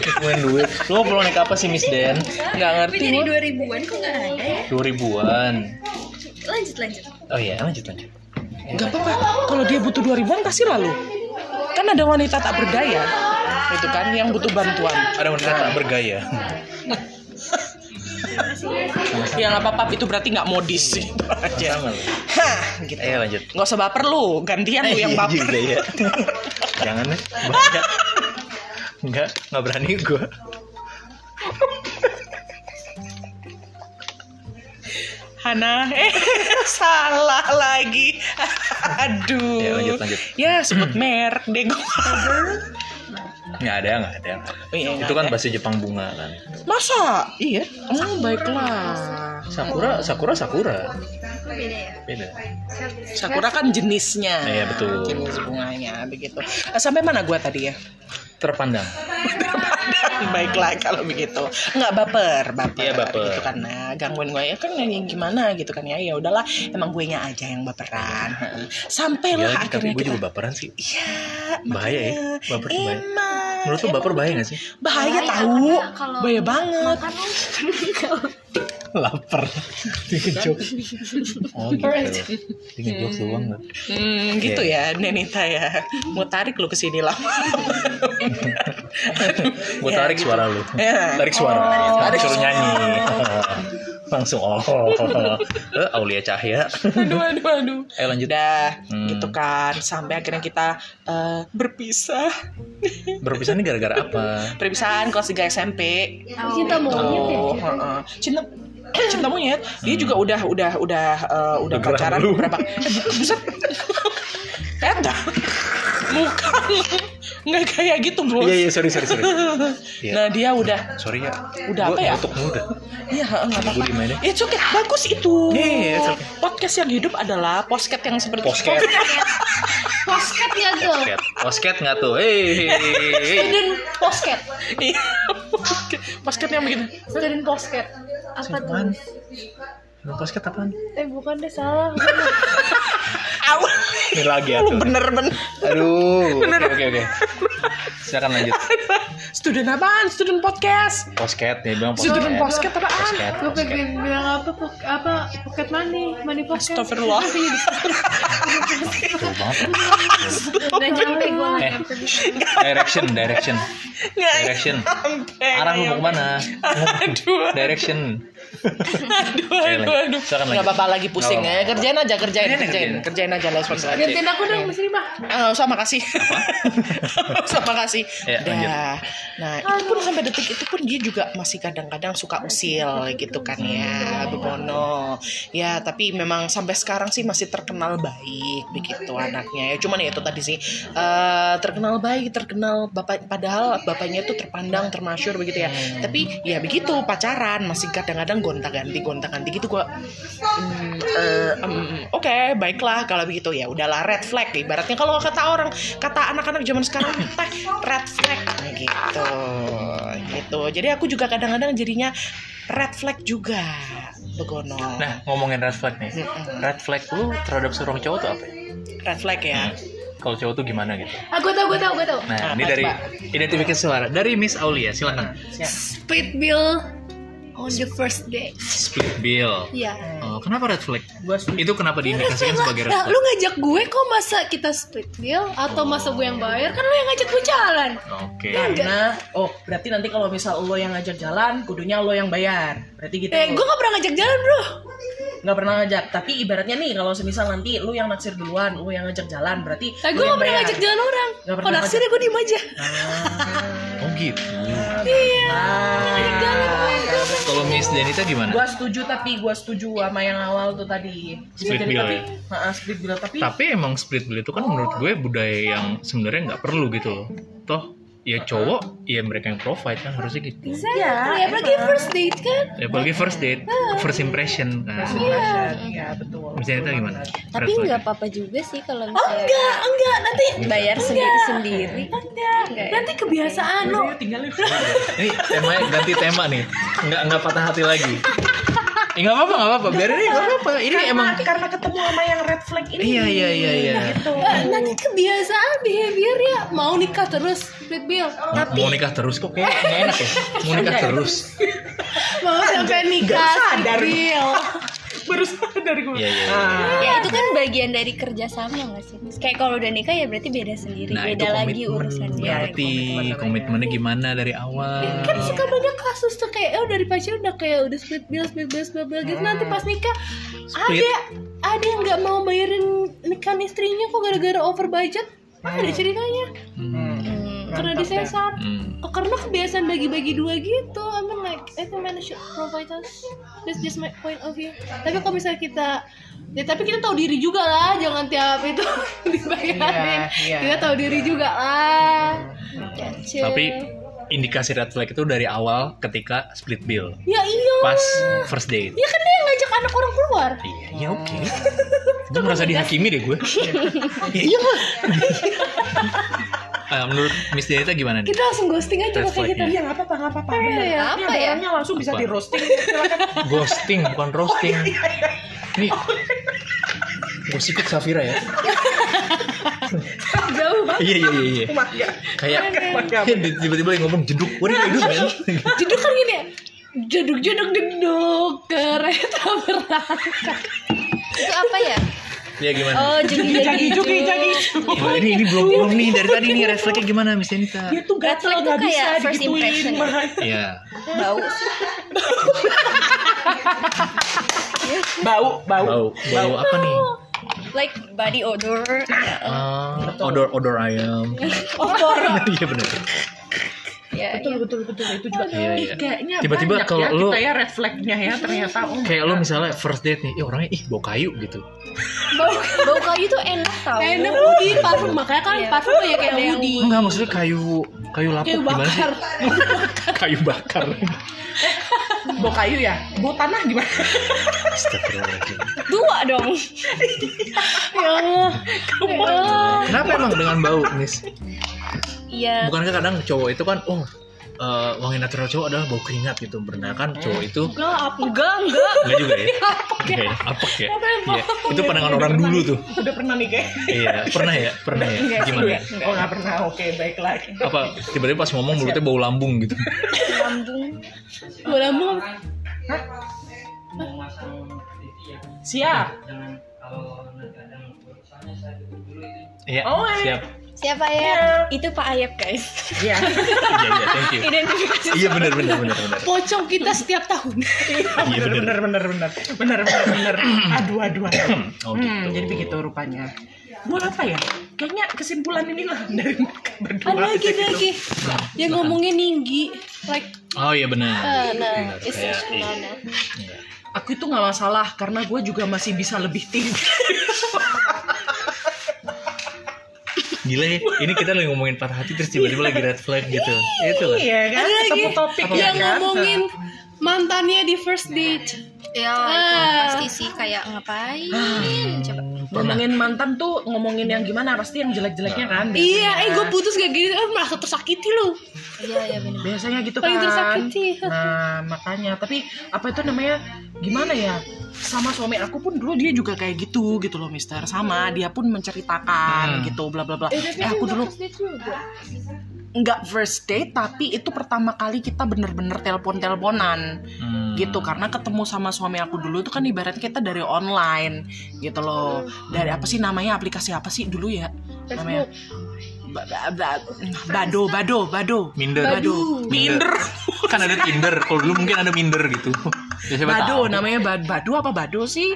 A: ngitungin duit. Lu perlu naik apa sih Miss Dan?
B: Nggak
C: Tapi
B: ngerti.
C: dari
B: gua.
C: 2000-an kok nggak ada ya?
A: 2000-an.
C: Lanjut, lanjut.
A: Oh iya, lanjut lanjut.
B: Gak apa-apa. Kalau dia butuh 2000 an kasih lalu. Kan ada wanita tak berdaya. Itu kan yang butuh bantuan.
A: Ada wanita tak bergaya.
B: Ya nggak apa-apa. Itu berarti nggak modis.
A: Iya.
B: Gitu aja.
A: Sama lu.
B: Hah. Gitu.
A: Ayo lanjut.
B: Nggak usah baper lu. Gantian lu yang
A: Iya
B: baper.
A: juga ya. Jangan ya. Banyak. Enggak, enggak berani gua.
B: Hana, eh salah lagi. Aduh.
A: Ya, lanjut, lanjut.
B: Ya, sebut merek deh gua.
A: Enggak ada, enggak ada. nggak ada.
B: Oh, iya,
A: Itu kan bahasa Jepang bunga kan.
B: Masa? Iya. Oh, baiklah.
A: Sakura, Sakura, Sakura.
C: Beda ya?
A: Beda.
B: Sakura kan jenisnya.
A: Iya, betul.
B: Jenis bunganya begitu. Eh, Sampai mana gua tadi ya?
A: Terpandang.
B: baiklah kalau begitu. Nggak baper, baper.
A: Iya, baper.
B: Gitu kan nah, gangguin gue ya kan yang gimana gitu kan ya. Ya udahlah, emang gue nya aja yang baperan.
A: Iya,
B: Sampailah
A: lagi, tapi
B: akhirnya
A: gue
B: kita
A: juga baperan sih.
B: Iya,
A: Bahaya ya,
B: makanya.
A: baper tuh bahaya.
B: Emang,
A: Menurut lu
B: emang
A: baper bahaya gak sih?
B: bahaya
C: Bahaya,
B: tahu,
C: karena kalau-
B: bahaya banget.
C: Makan lu.
A: Lapar. Bikin jokes. Oh gitu. Bikin jokes doang nggak?
B: Hmm, gitu ya, Nenita ya. Mau tarik lu ke sini lah.
A: Gue
B: Ya,
A: tarik
B: gitu.
A: suara lu.
B: Ya.
A: Tarik suara. Tarik suruh nyanyi. Langsung oh. Eh, Aulia Cahya.
B: aduh, aduh, aduh.
A: Eh lanjut.
B: Udah,
A: Hmm.
B: gitu kan. Sampai akhirnya kita eh, berpisah.
A: Berpisah ini gara-gara apa?
B: Perpisahan kelas 3 SMP.
C: Aku cinta monyet ya?
B: Oh, heeh. cinta cinta monyet dia juga udah udah udah eh, udah
A: Udah
B: pacaran
A: berlalu.
B: berapa buset Eta. muka lu. nggak kayak gitu bos
A: Iya iya sorry sorry sorry. Iya.
B: nah dia udah
A: Sorry ya.
B: Udah apa ya?
A: Untuk muda.
B: iya heeh, nggak
A: Gue
B: apa-apa
A: dimainin.
B: It's okay, bagus itu.
A: Iya, iya, it's okay.
B: Podcast yang hidup adalah podcast yang seperti
A: Posket.
C: Posket ya, nggak tuh?
A: Posket. Posket nggak tuh? Hei.
C: Student posket.
B: Iya, podcast yang begitu.
C: Student posket. Apa
A: Apaan?
C: tuh?
A: Posket apaan?
C: Eh bukan deh salah.
B: Au,
A: Ini lagi
B: lu
A: atuh.
B: bener-bener.
A: Aduh. Oke oke oke. Silakan lanjut.
B: Student apaan? Student podcast.
A: Posket dia bilang posket.
B: Student podcast apaan?
A: Posket.
C: Gue
A: posket.
C: pengen bilang apa pok- apa pocket money, money pocket.
B: Astagfirullah.
A: Jauh banget.
C: Udah nyampe gue nggak
A: Eh.
C: nyampe.
A: Direction, direction,
B: Nggak
A: direction.
B: nyampe,
A: Iya, Arah lu
B: nggak ya.
A: mau kemana?
B: Eh, iya. Aduh,
A: Direction.
B: aduh,
A: Oke,
B: aduh,
A: lanjut.
B: aduh.
A: Silakan lanjut.
B: Nggak apa-apa lagi pusing
A: Nggak apa-apa.
B: ya. Kerjain aja, kerjain,
A: Kerjain,
B: kerjain,
A: kerjain.
B: kerjain aja les lagi.
C: Gantiin aku
A: Eh.
C: dong, Mas Rima.
B: Ah, nggak usah makasih. Nggak usah makasih.
A: Ya, lanjut.
B: Udah. Nah, itu pun sampai detik itu pun dia juga masih kadang-kadang suka usil gitu kan
A: Hmm.
B: ya, Bono. Ya, tapi memang sampai sekarang sih masih terkenal baik begitu anaknya. Ya, cuman ya itu tadi sih eh, terkenal baik, terkenal bapak padahal bapaknya itu terpandang, termasyur begitu ya.
A: Hmm.
B: Tapi ya begitu pacaran masih kadang-kadang gonta-ganti, gonta-ganti gitu gua Hmm, eh, em, oke baiklah kalau begitu ya udahlah red flag ibaratnya kalau kata orang kata anak-anak zaman sekarang teh red flag gitu gitu jadi aku juga kadang-kadang jadinya red flag juga begono
A: Nah, ngomongin red flag nih.
B: Mm-mm.
A: Red flag lu terhadap seorang cowok tuh apa ya?
B: red flag ya
A: Kalau cowok tuh gimana gitu?
C: Ah, gue tau, gue tau, gue tau.
A: Nah,
B: Apa,
A: ini dari
B: coba?
A: identifikasi suara dari Miss Aulia, silakan.
B: Ya,
C: Split bill on the first day.
A: Split bill.
C: Iya.
A: Oh, kenapa red flag?
B: Gua setuju.
A: Itu kenapa diindikasikan sebagai red
C: Nah,
A: flag?
C: lu ngajak gue kok masa kita split bill atau masa gue yang bayar? Kan lu yang ngajak gue jalan.
A: Oke.
B: karena oh berarti nanti kalau misal lo yang ngajak jalan kudunya lo yang bayar berarti gitu
C: Eh, gue gak pernah ngajak jalan, bro. Eh,
B: nggak pernah ngajak tapi ibaratnya nih kalau semisal nanti lu yang naksir duluan lu yang ngajak jalan berarti
C: Eh, gue gak pernah ngajak jalan orang.
B: Iya, Nggak pernah Nah.
C: Kalau naksir ya gue diem aja. Iya.
A: Oh gitu.
B: jalan
A: Kalau Miss Denita gimana?
B: Ah. Gua setuju tapi gua setuju sama yang awal tuh tadi.
A: Split
B: Jadi,
A: bill
B: tapi,
A: ya?
B: Ha-ha, split bill tapi,
A: Tapi emang split bill itu kan menurut gue budaya yang sebenarnya nggak perlu gitu loh. Toh ya cowok ya mereka yang provide kan harusnya gitu.
C: Iya. Ya, apalagi first date kan.
A: Ya, apalagi first date, first impression kan.
B: ya betul.
A: Miss Denita gimana? Red
D: Tapi
A: flag.
D: nggak apa-apa juga sih kalau misalnya
C: Oh, Enggak, enggak. Nanti
D: bayar sendiri-sendiri. ya?
C: enggak. Nanti kebiasaan lo.
B: Tinggalin.
A: Ini temanya ganti tema nih. Nggak nggak patah hati lagi. Eh, nggak apa-apa, nggak apa-apa. Biarin aja, nggak apa-apa. Ini
B: karena,
A: emang
B: karena ketemu sama yang red flag ini.
A: Iya, iya, iya, iya.
B: Gitu.
C: nanti kebiasaan behavior ya mau nikah terus split bill
A: mau nikah terus kok kayak nggak enak ya. Mau nikah terus.
C: mau sampai
B: Baru
C: nikah
B: sadar.
C: split bill
B: Baru sadar gue.
A: Iya, iya, iya.
B: Ah.
D: Ya itu kan bagian dari kerjasama gak sih? Kayak kalau udah nikah ya berarti beda sendiri,
A: Nah, itu
D: beda lagi
A: komitmen.
D: urusannya.
A: Berarti
B: komitmen namanya.
A: komitmennya gimana dari awal?
C: kan suka banyak kasus tuh kayak eh dari pacar udah kayak udah split bill split bill split bill gitu nanti pas nikah
A: Split.
C: ada ada yang nggak mau bayarin nikahan istrinya kok gara-gara over budget ada ceritanya
A: Hmm.
D: Hmm.
C: karena
B: Mantap,
C: disensor
A: Hmm.
C: Oh, karena kebiasaan bagi-bagi dua gitu I mean like I think men should provide us that's just my point of view tapi kalau misalnya kita ya, tapi kita tahu diri juga lah jangan tiap itu dibayarin
B: Iya, iya.
C: kita tahu diri juga lah Kecil.
A: Tapi indikasi red flag itu dari awal ketika split bill
C: ya iya
A: pas first date.
C: ya kan dia yang ngajak anak orang keluar
A: Iya, ya oke. Gue merasa dihakimi deh gue. Ya, iya lah. Eh, menurut Miss Dianita gimana nih?
C: kita langsung ghosting aja
A: Red
C: kayak gitu. kita
A: flag-nya.
B: Iya nggak apa-apa nggak apa-apa. Bener.
C: Iya,
B: Ini
D: apa
B: ada
D: ya?
B: orangnya langsung bisa
A: Apa? Iya.
B: di roasting. Silakan. Iya,
A: Ghosting bukan roasting. Nih, gue sikut iya. Safira ya.
B: Jauh banget.
A: Iya iya iya. iya.
B: Iya.
A: Kayak Iya,
B: Makanya.
A: tiba-tiba yang ngomong jeduk. What did I do, man?
C: juduk kan gini ya juduk juduk jeduk kereta berangkat
D: Itu apa ya?
A: Iya gimana?
D: Oh, jadi
B: Jagi jugi jagi.
A: Wah, ini ini belum belum nih dari tadi nih refleksnya gimana Miss Dianita?
B: Dia tuh gatel
D: Red flag
B: nggak
D: tuh
B: bisa
D: kayak first
B: digituin.
D: impression. ya?
B: makanya.
A: Iya.
D: bau.
B: Bau bau
A: Bau bau apa nih?
D: Like body odor. Ya,
A: Ah,
B: Gitu.
A: odor odor ayam.
B: Over.
A: Iya benar.
D: ya,
B: Betul betul betul itu juga.
A: Iya
B: Ih,
A: iya.
B: Kayaknya
A: Tiba-tiba
B: banyak
A: kalau
B: ya,
A: lu-
B: kita ya red flagnya ya ternyata. Oh my
A: Kayak lo misalnya first date nih, ih orangnya ih bau kayu gitu.
D: Bau, bau kayu tuh enak tau.
C: enak Woody parfum makanya kan
D: Iya.
C: parfum banyak yang ada yang
A: Enggak maksudnya kayu kayu lapuk
C: kayak
A: gimana sih?
C: bakar
A: Kayu bakar.
B: Bau kayu ya? Bau tanah gimana?
A: Astagfirullahaladzim.
D: Tua dong.
C: ya Allah ya Allah
A: Kenapa emang dengan bau, Miss?
D: Iya.
A: Bukankah kadang cowok itu kan, oh eh, wangi natural cowok adalah bau keringat gitu. Benar kan cowok itu
C: enggak apa enggak enggak
A: enggak juga ya?
B: Iya,
A: Enggak ya? Apek ya? Iya. Itu pandangan orang dulu tuh.
B: Udah pernah nih kayak.
A: Iya, pernah ya? Pernah ya?
D: Enggak sih,
A: Gimana?
D: enggak.
B: Oh nggak pernah. Oke baiklah.
A: Apa tiba-tiba pas ngomong mulutnya bau lambung gitu?
D: Lambung.
C: gue lambung
B: Siap.
A: Iya,
B: Oh, eh.
A: siap.
D: Siapa
C: Iya.
D: ya? Itu Pak Ayep guys.
B: Iya.
A: Iya, iya, thank you.
D: Identifikasi.
A: Iya benar benar benar benar.
C: pocong kita setiap tahun
A: Iya benar.
B: Bener bener bener bener bener bener bener. Aduh aduh aduh.
A: Oh
B: Hmm,
A: gitu.
B: jadi begitu rupanya. Buat apa ya? Kayaknya kesimpulan inilah dari mereka berdua.
C: ada lagi ada lagi yang
B: Nah.
C: ngomongnya ninggi like
A: Oh iya benar.
B: Ah,
C: eh, nah
A: Benar,
C: it's
A: kayak,
C: just
A: iya.
C: banana.
A: Iya.
B: Aku itu nggak masalah karena gue juga masih bisa lebih tinggi.
A: Gila ya, ini kita lagi ngomongin patah hati terus tiba-tiba lagi red flag gitu. Itu lah.
B: Iya kan?
C: ada lagi
B: Ketemu topik ya
C: yang
B: kan? Iya,
C: ngomongin mantannya di first date
D: Ya, itu pasti sih kayak ngapain? Coba.
A: Pernah.
B: ngomongin mantan tuh ngomongin yang gimana pasti yang jelek-jeleknya kan
C: iya eh gue putus gak gini eh, merasa tersakiti lu
D: Iya, iya benar.
B: biasanya gitu
C: Paling
B: kan
C: tersakiti.
B: nah makanya tapi apa itu namanya gimana ya sama suami aku pun dulu dia juga kayak gitu gitu loh mister
C: Hmm.
B: sama dia pun
A: Hmm.
B: menceritakan gitu bla bla bla eh aku
C: kan
B: dulu nggak first date tapi itu pertama kali kita bener-bener telepon-teleponan
A: Hmm.
B: gitu karena ketemu sama suami aku dulu itu kan ibarat kita dari online gitu loh dari apa sih namanya aplikasi apa sih dulu ya namanya Ba- ba- ba- bado bado bado
A: Minder.
B: bado minder
A: Kan ada Tinder. Kalau dulu mungkin ada Minder gitu. Ya, siapa
B: bado
A: tahu.
B: namanya Ba- bado apa bado sih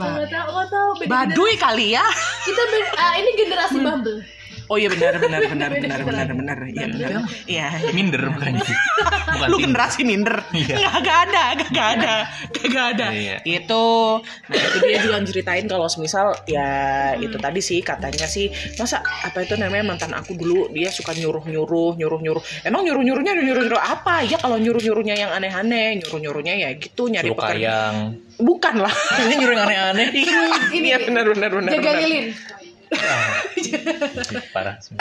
B: Ba-
C: nggak tahu nggak tahu beda
B: baduy kali ya
C: kita beda- ah, ini generasi bumble
B: oh iya benar benar benar benar benar benar iya benar iya iya.
A: Minder bukan itu. Bukan
B: lu
A: Tinder.
B: generasi minder nggak nggak ada nggak nggak ada nggak nggak ada
A: Iya.
B: itu nah itu dia juga ceritain kalau semisal ya
C: Hmm.
B: itu tadi sih katanya sih masa apa itu namanya mantan aku dulu dia suka nyuruh nyuruh nyuruh nyuruh emang nyuruh nyuruhnya nyuruh nyuruh apa ya kalau nyuruh nyuruhnya yang aneh aneh nyuruh nyuruhnya ya gitu nyari
A: Suruh
B: pekerjaan
A: kayang.
B: bukan lah
A: Ini nyuruh yang aneh-aneh.
B: ini ya benar benar benar
C: jaga
B: benar.
C: lilin
A: Parah. sih.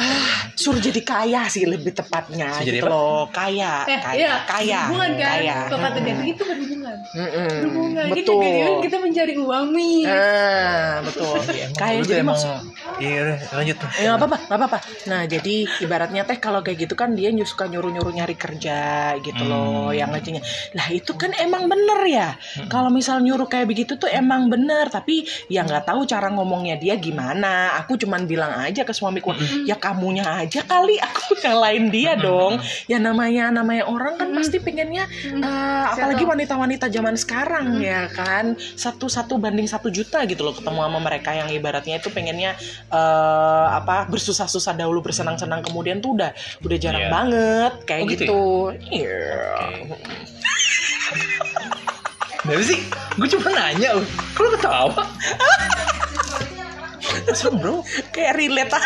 B: suruh jadi kaya sih lebih tepatnya
A: Suruh jadi
B: gitu
A: apa?
B: loh kaya
C: eh
B: kaya
C: iya
B: kaya
C: hubungan kan
B: kaya
C: bapak terjadi itu berhubungan
D: berhubungan.
B: Mm-mm.
D: Berhubungan. Kita
B: betul.
C: kan
D: jadi kita mencari uang nih.
C: Iya.
B: Ah, betul.
A: Ya,
B: Kayak jadi
A: emang
B: maksud
A: iya udah, lanjut
B: Ya nggak apa-apa, nggak apa-apa. Nah jadi ibaratnya teh kalau kayak gitu kan dia nyus- suka nyuruh-nyuruh nyari kerja gitu
A: Hmm.
B: loh yang ngecengnya. Lah itu kan emang bener ya. Kalau misal nyuruh kayak begitu tuh emang bener. Tapi ya nggak tahu cara ngomongnya dia gimana. Aku cuman bilang aja ke suamiku, ya kamunya aja kali aku yang lain dia dong. Ya namanya namanya orang kan pasti pengennya, eh, apalagi wanita-wanita zaman sekarang ya kan satu-satu banding satu juta gitu loh ketemu sama mereka yang ibaratnya itu pengennya eh apa bersusah-susah dahulu bersenang-senang kemudian tuh udah udah jarang
A: Iya.
B: banget kayak
A: Oh, gitu
B: gitu. Iya.
A: Tapi Nah, sih, gue cuma nanya, loh. Kok lu ketawa?
B: Serem bro, kayak relate ah.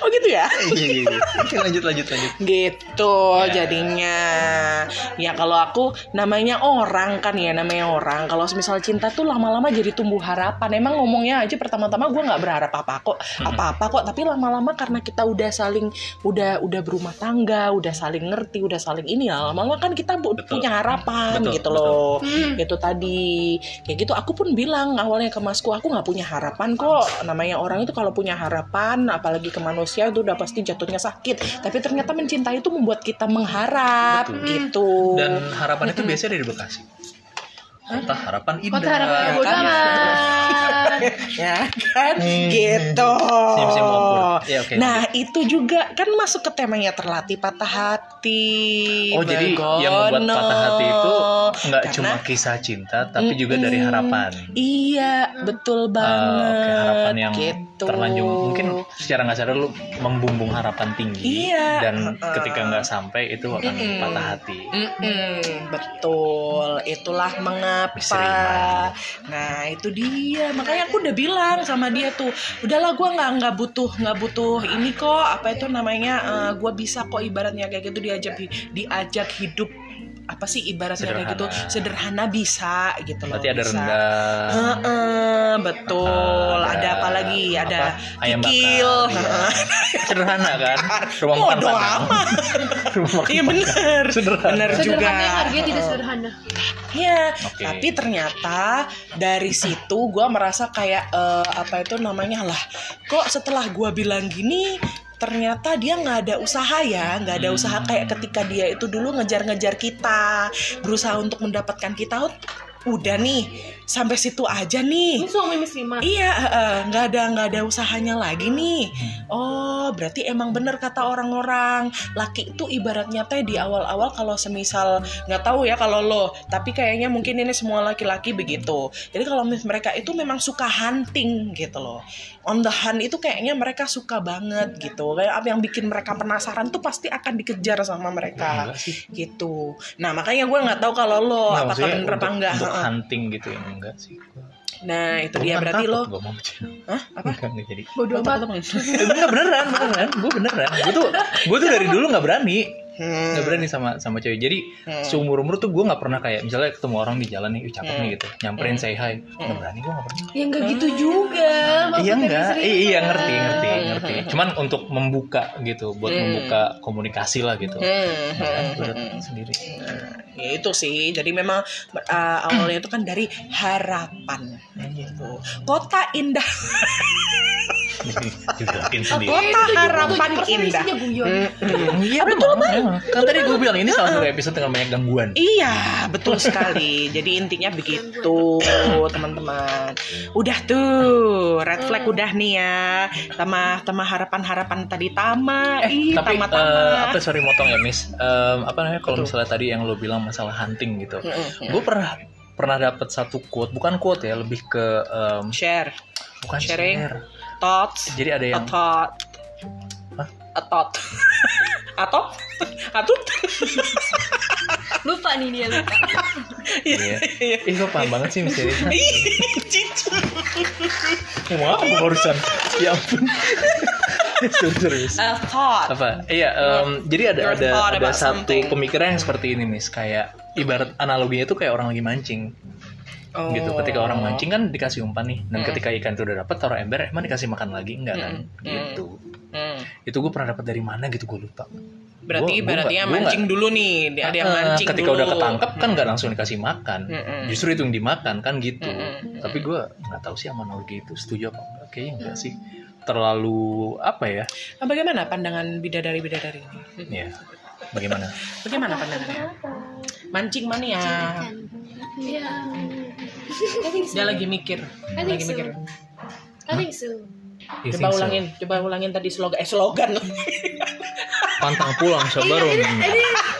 B: Oh gitu ya?
A: Iya, iya, iya. Oke, lanjut, lanjut, lanjut.
B: gitu
A: Ya.
B: jadinya ya kalau aku namanya orang kan ya namanya orang kalau misal cinta tuh lama-lama jadi tumbuh harapan emang ngomongnya aja pertama-tama gue nggak berharap apa kok apa-apa kok tapi lama-lama karena kita udah saling udah udah berumah tangga udah saling ngerti udah saling ini ya lama-lama kan kita bu-
A: Betul.
B: punya harapan
A: Betul,
B: gitu
A: betul.
B: loh
C: Hmm.
B: itu gitu tadi kayak gitu aku pun bilang awalnya ke masku aku nggak punya harapan kok namanya orang itu kalau punya harapan apalagi ke manusia itu udah pasti jatuhnya sakit tapi ternyata mencintai itu membuat kita mengharap
A: Betul.
B: gitu
A: Dan harapan itu biasanya dari Bekasi. Kota harapan indah.
C: Kota harapan
B: Ya,
C: yang bodoh
B: kan?
C: amat.
B: ya kan
A: Hmm.
B: gitu
A: Siap-siap ngumpul. Ya, oke.
B: nah itu juga kan masuk ke temanya terlatih patah hati
A: Oh jadi yang membuat
B: Begono.
A: patah hati itu nggak
B: Karena-
A: cuma kisah cinta, tapi juga
B: Mm-mm.
A: dari harapan.
B: Iya, betul banget.
A: Ah, oke, harapan yang
B: gitu.
A: Terlanjung mungkin secara nggak sadar lu membumbung harapan tinggi
B: Iya.
A: dan
B: Heeh.
A: ketika nggak sampai itu akan
B: Mm-mm.
A: patah hati.
B: Mm-mm, betul, itulah mengapa.
A: Seimbang.
B: Nah itu dia, makanya aku udah bilang sama dia tuh, udahlah gua nggak nggak butuh nggak butuh ini kok apa itu namanya, eh, gua bisa kok ibaratnya kayak gitu diajak hi- diajak hidup apa sih ibaratnya kayak gitu
A: Sederhana.
B: sederhana bisa gitu loh.
A: Berarti ada
B: bisa.
A: rendang. eh,
B: Heeh, betul.
A: Ah,
B: ada apa lagi? Ada
A: apa? ayam
B: kikil.
A: bakar. iya. Sederhana kan? Rumah makan
B: Bodoh
A: padang.
B: amat.
A: Rumah makan
B: Iya bener.
A: Sederhana.
B: Bener juga.
C: Sederhana yang harganya tidak
B: Heeh.
C: sederhana.
B: Ya,
A: Oke.
B: tapi ternyata dari situ gua merasa kayak eh, apa itu namanya lah, kok setelah gua bilang gini ternyata dia nggak ada usaha ya nggak ada usaha kayak ketika dia itu dulu ngejar-ngejar kita berusaha untuk mendapatkan kita udah nih sampai situ aja nih
C: Ini suami Miss Rima.
B: Iya, eh, nggak ada nggak ada usahanya lagi nih. Oh, berarti emang bener kata orang-orang laki itu ibaratnya teh di awal-awal kalau semisal nggak tahu ya kalau lo, tapi kayaknya mungkin ini semua laki-laki begitu. Jadi kalau mis- mereka itu memang suka hunting gitu loh. On the hunt itu kayaknya mereka suka banget gitu. Kayak apa yang bikin mereka penasaran tuh pasti akan dikejar sama mereka
A: Enggak sih.
B: gitu. Nah makanya gue nggak tahu kalau lo
A: Nggak,
B: apakah
A: Iya. Nah, maksudnya
B: bener
A: untuk-
B: Oh, apa enggak.
A: Untuk
B: Heeh.
A: hunting gitu ya enggak sih.
B: Nah itu dia berarti lo.
A: Gue mau bercanda.
B: Hah? Apa?
A: Enggak, enggak jadi.
C: Bodoh amat.
A: Eh, enggak beneran, beneran. Gue beneran. Gue tuh, gue tuh dari dulu nggak berani,
B: Hmm.
A: nggak berani sama sama cewek. Jadi
B: Hmm.
A: seumur umur tuh gue nggak pernah kayak misalnya ketemu orang di jalan nih, "Ih, cakep nih
B: Hmm.
A: gitu, nyamperin say hi, nggak
B: Hmm.
A: berani gue nggak berani.
C: Ya enggak gitu juga.
A: Iya
C: maksudnya
A: enggak,
C: Miss Rima.
A: Eh, iya ngerti, ngerti, ngerti. Cuman untuk membuka gitu, buat
B: Hmm.
A: membuka komunikasi lah gitu.
B: Hmm,
A: Ya kan,
B: hmm,
A: gua udah
B: hmm.
A: sendiri.
B: Ya itu sih. Jadi memang uh, awalnya itu kan dari harapan. Gitu. Kota indah,
A: Dibilangin
C: Oke,
A: sendiri.
B: Kota
C: itu
B: harapan
C: 77%
B: indah.
C: isinya guyon.
A: Iya betul banget. Kan tadi gue bilang ini salah satu episode dengan banyak gangguan.
B: Iya, betul sekali. Jadi intinya begitu, teman-teman. Udah tuh, red flag udah nih ya. Tama tama harapan-harapan tadi tama, ih
A: tapi eh,
B: tama-tama.
A: apa sorry motong ya miss Em, apa namanya kalau
B: Betul.
A: misalnya tadi yang lo bilang masalah hunting gitu
B: Mm-mm, mm.
A: gue pernah pernah dapat satu quote bukan quote ya lebih ke em,
B: Share
A: bukan
B: Sharing.
A: share.
B: thoughts,
A: jadi ada yang
B: atot,
A: Hah?
B: atot, atot, atut. Hmm.
D: Lupa nih dia lupa.
A: Iya. ih gue paham banget sih miss Erina
B: Cicu.
A: ngomong apa gua barusan ya ampun sorry sorry miss
B: A thought.
A: apa iya em, jadi ada
B: your
A: ada
B: thought
A: ada
B: about
A: satu
B: something.
A: pemikiran yang seperti ini miss kayak ibarat analoginya itu kayak orang lagi mancing gitu ketika
B: Oh.
A: orang mancing kan dikasih umpan nih dan
B: Mm.
A: ketika ikan itu udah dapat taruh ember emang dikasih makan lagi enggak kan
B: Mm.
A: gitu itu gue pernah dapat dari mana gitu gue lupa Gua-
B: Berarti
A: gua nggak-
B: ibaratnya
A: gua
B: mancing
A: nggak-
B: dulu nih, Iya, ada yang
A: Ah,
B: mancing
A: ketika
B: dulu. Mm,
A: udah ketangkep kan nggak langsung dikasih makan
B: Mm-mm.
A: justru itu yang dimakan kan gitu
B: Mm-mm.
A: tapi gue nggak tahu sih sama analogi itu setuju apa enggak kayaknya enggak sih terlalu apa ya
B: Nah, bagaimana pandangan bidadari bidadari ini?
A: ya bagaimana
B: Bagaimana pandangannya? Mancing mania.
C: Iya. I think so.
B: Dia lagi mikir.
C: I
B: Lagi
C: think so.
B: mikir.
A: Iya,
C: I think so.
A: You
B: Coba
A: think so?
B: ulangin, coba ulangin tadi slogan eh slogan.
A: pantang pulang
B: Iya,
A: sabar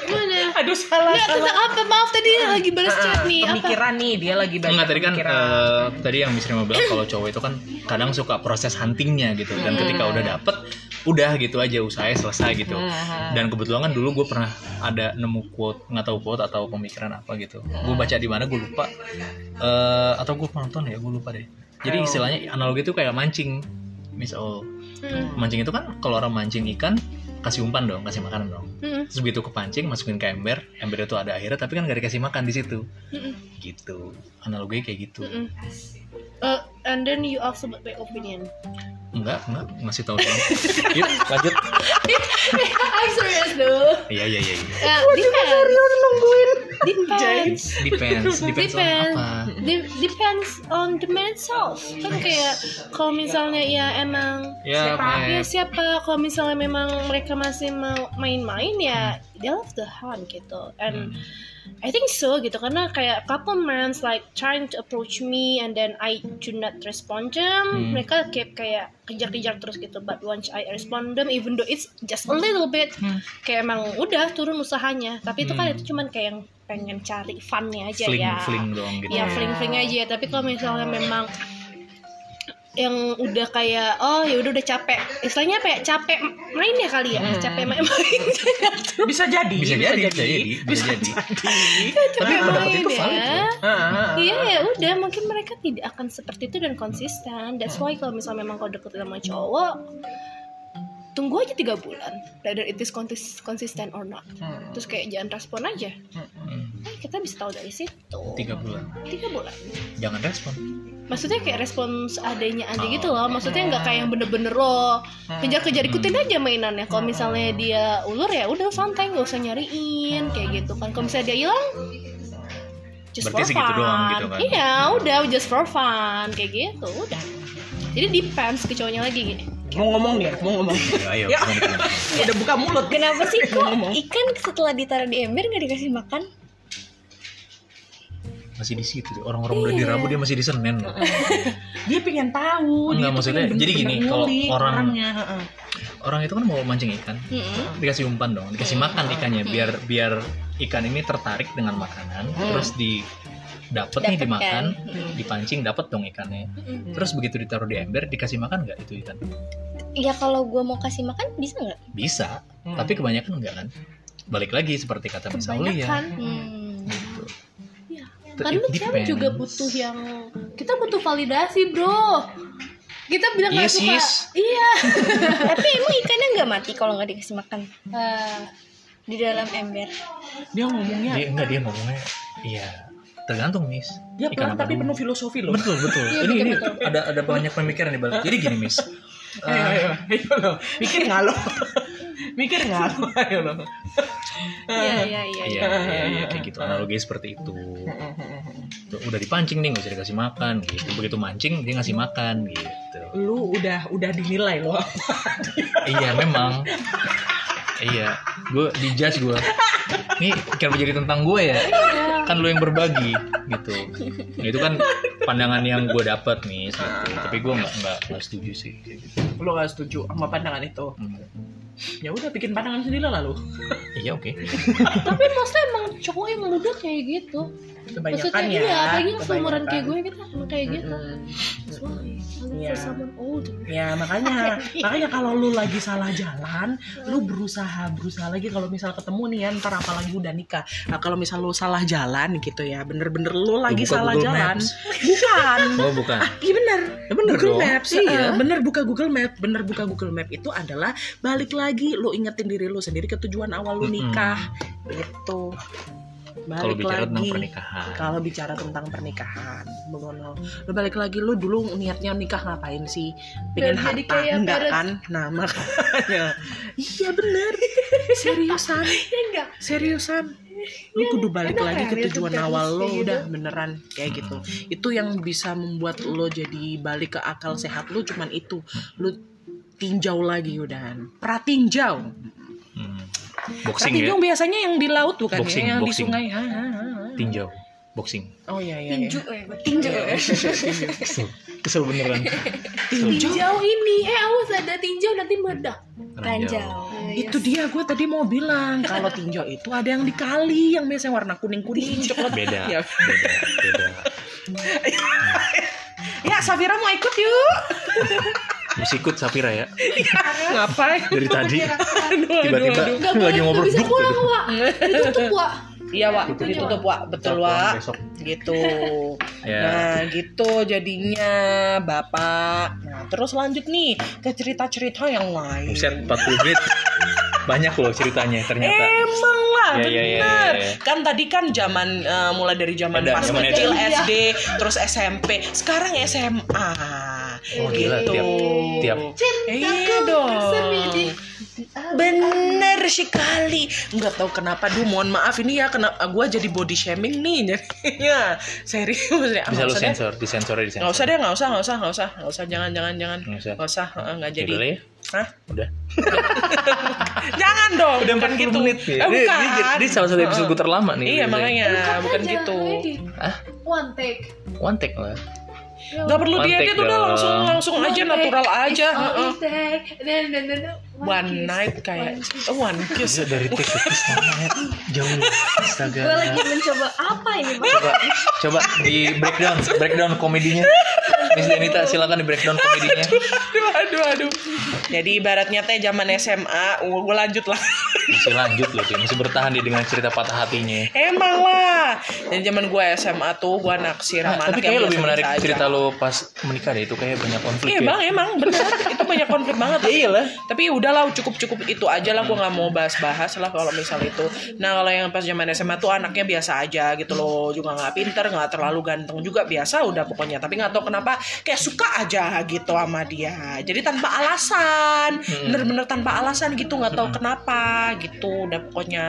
C: Gimana?
B: Aduh salah.
C: Nggak,
B: salah.
C: tentang apa? Maaf tadi lagi balas
B: Ah,
C: chat nih. Apa?
B: Pemikiran nih dia lagi banyak
A: Enggak tadi kan
B: pikiran.
A: eh, tadi yang Miss Rima bilang kalau cowok itu kan kadang suka proses huntingnya gitu dan
B: Hmm.
A: ketika udah dapet udah gitu aja usahanya selesai gitu
B: Hmm,
A: dan kebetulan kan dulu gue pernah ada nemu quote nggak tahu quote atau pemikiran apa gitu gue baca di mana gue lupa Eh, atau gue nonton ya gue lupa deh jadi
B: Oh.
A: istilahnya analogi itu kayak mancing Miss Ol
C: Hmm.
A: mancing itu kan kalau orang mancing ikan kasih umpan dong kasih makanan dong
C: Hmm.
A: terus begitu kepancing masukin ke ember ember itu ada akhirnya tapi kan gak dikasih makan di situ
C: Mm-mm.
A: gitu analoginya kayak gitu
C: Mm-mm. Uh, and then you ask about my opinion.
A: enggak enggak ngasih tahu doang yuk lanjut
C: I'm serious though.
A: iya iya iya iya.
C: Uh, depends. Depends.
A: depends depends on
C: Depends.
A: apa
C: De- depends on the man itself. Kan kayak kalau misalnya ya emang
A: ya
C: ya
A: Matt.
C: siapa kalau misalnya memang mereka masih mau main-main
A: Hmm.
C: ya they love the hunt gitu and I think so gitu karena kayak couple mans like trying to approach me and then I do not respond them
A: Hmm.
C: mereka kayak kayak kejar-kejar terus gitu but once I respond them even though it's just a little bit
B: Hmm.
C: kayak emang udah turun usahanya tapi itu kan
A: Hmm.
C: itu cuman kayak yang pengen cari funnya aja
A: fling
C: ya
A: fling doang gitu
C: ya fling-fling aja tapi kalau misalnya memang yang udah kayak oh ya udah udah capek istilahnya apa ya capek main ya kali ya
A: Hmm.
C: capek main main
B: bisa jadi,
A: eh, bisa jadi bisa jadi bisa jadi tapi
C: capek
A: pendapat Nah,
C: main
A: itu valid
C: ya
A: loh.
B: Ah, Heeh.
C: Iya ya udah mungkin mereka tidak akan seperti itu dan konsisten that's why kalau misalnya memang kau deket sama cowok tunggu aja tiga bulan whether it is konsis- konsisten or not
B: Hmm.
C: terus kayak jangan respon aja
A: Hmm,
C: eh, kita bisa tahu dari situ
A: tiga bulan
C: tiga bulan
A: jangan respon
C: maksudnya kayak respons adanya aja
A: Oh.
C: gitu loh maksudnya nggak kayak yang bener-bener loh
A: Hmm.
C: kejar-kejar ikutin aja mainannya kalau misalnya dia ulur ya udah santai nggak usah nyariin kayak gitu kan kalau misalnya dia hilang just
A: Hmm. Berarti
C: for
A: segitu
C: fun
A: doang gitu kan?
C: iya udah just for fun kayak gitu udah jadi depends ke cowoknya lagi gini
B: Mau ngomong nih, mau ngomong.
A: Ya, ayo
B: Ya.
A: gimana, gimana?
B: Udah buka mulut.
D: Kenapa sih kok
B: Ngomong.
D: ikan setelah ditaruh di ember nggak dikasih makan?
A: masih di situ orang-orang
C: Iya.
A: udah di Rabu dia masih di Senin loh.
B: Dia pengen tahu.
A: Enggak,
B: tuh
A: maksudnya,
B: pengen
A: jadi gini,
B: bener-bener
A: kalau
B: ngulik
A: orang-
B: orangnya, heeh.
A: orang itu kan mau mancing ikan dikasih umpan dong
C: Iya.
A: dikasih makan ikannya biar biar ikan ini tertarik dengan makanan terus di dapet nih
D: Dapet
A: dimakan
D: kan.
A: dipancing dapet dong ikannya
C: Iya.
A: terus begitu ditaruh di ember dikasih makan nggak itu ikan
C: Iya,
D: Ya kalau gua mau kasih makan bisa nggak?
A: bisa
B: Hmm.
A: tapi kebanyakan enggak kan balik lagi seperti kata Miss Aulia
C: Kebanyakan.
D: Hmm.
A: gitu
C: Iya.
A: Ter-
C: karena
A: it
C: cewek
A: ya, depends.
C: juga butuh ya. yang kita butuh validasi bro kita bilang nggak
A: Yes,
C: suka
A: yes.
C: iya
D: Tapi emang ikannya nggak mati kalau nggak dikasih makan
C: Eh,
D: di dalam ember.
B: dia ngomongnya
A: dia enggak dia ngomongnya iya tergantung Miss
B: dia pelan tapi
A: dulu?
B: penuh filosofi loh.
A: betul betul
C: Iya,
A: ini,
C: betul,
A: ini
C: betul.
A: ada ada banyak pemikiran di balik jadi gini Miss
B: Ayo, ayo, ayo lo. Iya, Mikir nggak lo? Mikir nggak lo? Ayo lo.
C: iya iya iya
A: Iya, iya, iya, kayak gitu. Analogi seperti itu. Tuh, udah dipancing nih, nggak usah dikasih makan. Gitu. Begitu mancing, dia ngasih makan gitu.
B: Lu udah udah dinilai lo.
A: iya, memang. Iya, gue dijudge gue. Nih, kenapa jadi tentang gue ya? Kan lu yang berbagi gitu. Nah, itu kan pandangan yang gue dapat nih. gitu. Tapi gue nggak nggak nggak setuju sih. kayak gitu.
B: Lo nggak setuju sama pandangan itu?
A: Hmm.
B: Ya udah bikin pandangan sendiri lah lo.
A: Iya, oke.
C: tapi maksudnya emang cowok yang muda kayak gitu
B: Kebanyakan
C: maksudnya
B: ya.
C: iya apalagi yang seumuran
B: kebanyakan.
C: kayak gue kita emang kayak gitu
B: Mm-mm.
C: That's why I look
B: Iya.
C: for someone older
B: Ya makanya, makanya kalau lu lagi salah jalan, lu berusaha berusaha lagi kalau misal ketemu nih ya ntar apalagi udah nikah. Nah, kalau misal lu salah jalan gitu ya, bener-bener lu lagi
A: buka
B: salah
A: Google
B: jalan.
A: Maps.
B: Bukan.
A: Oh, bukan.
B: Iya bener.
A: Ya bener
B: Google
A: dong.
B: Maps, iya. bener buka Google Map, bener buka Google Map itu adalah balik lagi lu ingetin diri lu sendiri ke tujuan awal lu
A: Mm-mm.
B: nikah. Gitu.
A: Kalau
B: balik
A: bicara
B: lagi.
A: tentang pernikahan.
B: kalau bicara tentang pernikahan Bono lu balik lagi lu dulu niatnya nikah ngapain sih pengen
C: Biar jadi
B: harta
C: kayak
B: enggak
C: parents.
B: kan nah makanya iya bener seriusan
C: ya enggak
B: seriusan lu kudu balik
C: enak
B: lagi
C: ya,
B: ke
C: lihat
B: tujuan
C: tuh
B: awal lo
C: parents gitu.
B: udah beneran kayak gitu itu yang bisa membuat lo jadi balik ke akal sehat lo cuman itu lu tinjau lagi udah pratinjau
A: Hmm. Boxing ya?
B: pratinjau biasanya yang di laut bukan ya?
A: Boxing,
B: yang di
A: boxing.
B: sungai Ha, ha, ha, ha.
A: Tinjau. Boxing.
B: oh iya iya, iya.
D: Tinju, eh, tinju.
C: ya?
A: Kesel. Kesel beneran.
C: tinjau ini eh awas ada tinjau nanti meledak
D: Ranjau.
B: Itu dia gue tadi mau bilang kalau tinjau itu ada yang di kali yang biasanya warna kuning kuning coklat.
A: Beda.
B: Ya.
A: Beda. Beda.
B: Ya Safira mau ikut yuk.
A: Mesti ikut Safira ya.
B: Ngapain?
A: Dari tadi
B: Aduh,
A: tiba-tiba
B: aduh, aduh.
C: Gak boleh,
A: lagi
C: gak
A: ngobrol
C: bisa
A: duk,
C: pulang,
A: tadi.
C: Wak. Ditutup, Wak.
B: Iya Wak,
A: Tutup,
B: ditutup
A: Wak.
B: Wak, betul
A: Pulang
B: Wak.
A: Besok.
B: Gitu.
A: Ya.
B: Nah gitu jadinya Bapak. Nah terus lanjut nih ke cerita-cerita yang lain.
A: Buset 40 menit. Banyak loh ceritanya ternyata.
B: Emang lah,
A: Ya, ya,
B: bener.
A: ya, ya, ya.
B: Kan tadi kan zaman eh, mulai dari zaman
A: Ada,
B: pas
A: zaman
B: kecil
C: SD.
B: SD, terus SMP, sekarang SMA.
A: Oh gila
B: Gitu.
A: tiap tiap
B: Iya
C: Kan bersemedi.
B: dong. Bener sekali. Nggak tahu kenapa, duh mohon maaf ini ya kenapa gua jadi body shaming nih jadinya. Serius ya.
A: bisa
B: nggak
A: lu
B: usah deh.
A: sensor, disensor aja
B: Nggak
A: disensor.
B: usah deh, nggak usah, nggak usah, nggak usah, nggak usah, jangan, jangan, jangan,
A: Nggak usah.
B: nggak usah, eh, nggak jadi.
A: Udah ya?
B: Hah?
A: Udah.
B: Jangan dong.
A: Udah
B: bukan
A: 40
B: gitu.
A: menit
B: Eh,
A: ya. Ini, ini,
B: bukan.
A: ini salah satu episode gue terlama nih.
B: Iya makanya
C: Bukan
B: bukan
C: aja,
B: gitu.
C: ready.
A: Hah?
C: One take.
A: One take lah.
B: Gak perlu
A: One
B: dia
A: take
B: dia tuh udah
A: dong.
B: langsung langsung aja
C: One
B: natural
C: take.
B: aja.
C: It's all
B: Heeh.
C: it take. Nah, Then- then- then- then
B: One
C: kiss.
B: night kayak
C: One kiss.
B: oh, one kiss.
A: Bisa dari take ke kiss namanya. jauh. Astaga.
D: Gue lagi mencoba apa ini, Bang?
A: coba coba di breakdown breakdown komedinya Miss Denita silakan di breakdown komedinya
B: aduh aduh aduh. Jadi ibaratnya teh zaman SMA, gue lanjut lah.
A: masih lanjut loh dia masih bertahan dia dengan cerita patah hatinya
B: Emang lah. Jadi zaman gue SMA tuh gue naksir
A: Nah,
B: sama anak
A: tapi
B: yang
A: kayaknya lebih
B: biasa-biasa
A: menarik
B: aja.
A: cerita lo pas menikah deh itu kayak banyak konflik
B: Iya
A: ya
B: bang, emang benar. itu banyak konflik banget. Tapi,
A: iyalah.
B: Tapi ya udahlah, cukup-cukup itu aja lah. Gue nggak mau bahas-bahas lah kalau misal itu. Nah kalau yang pas zaman SMA tuh anaknya biasa aja gitu loh. Juga nggak pinter, nggak terlalu ganteng juga biasa udah pokoknya. Tapi nggak tahu kenapa kayak suka aja gitu sama dia. Jadi tanpa alasan,
A: Hmm.
B: bener-bener tanpa alasan gitu. Nggak tahu kenapa gitu. Udah pokoknya.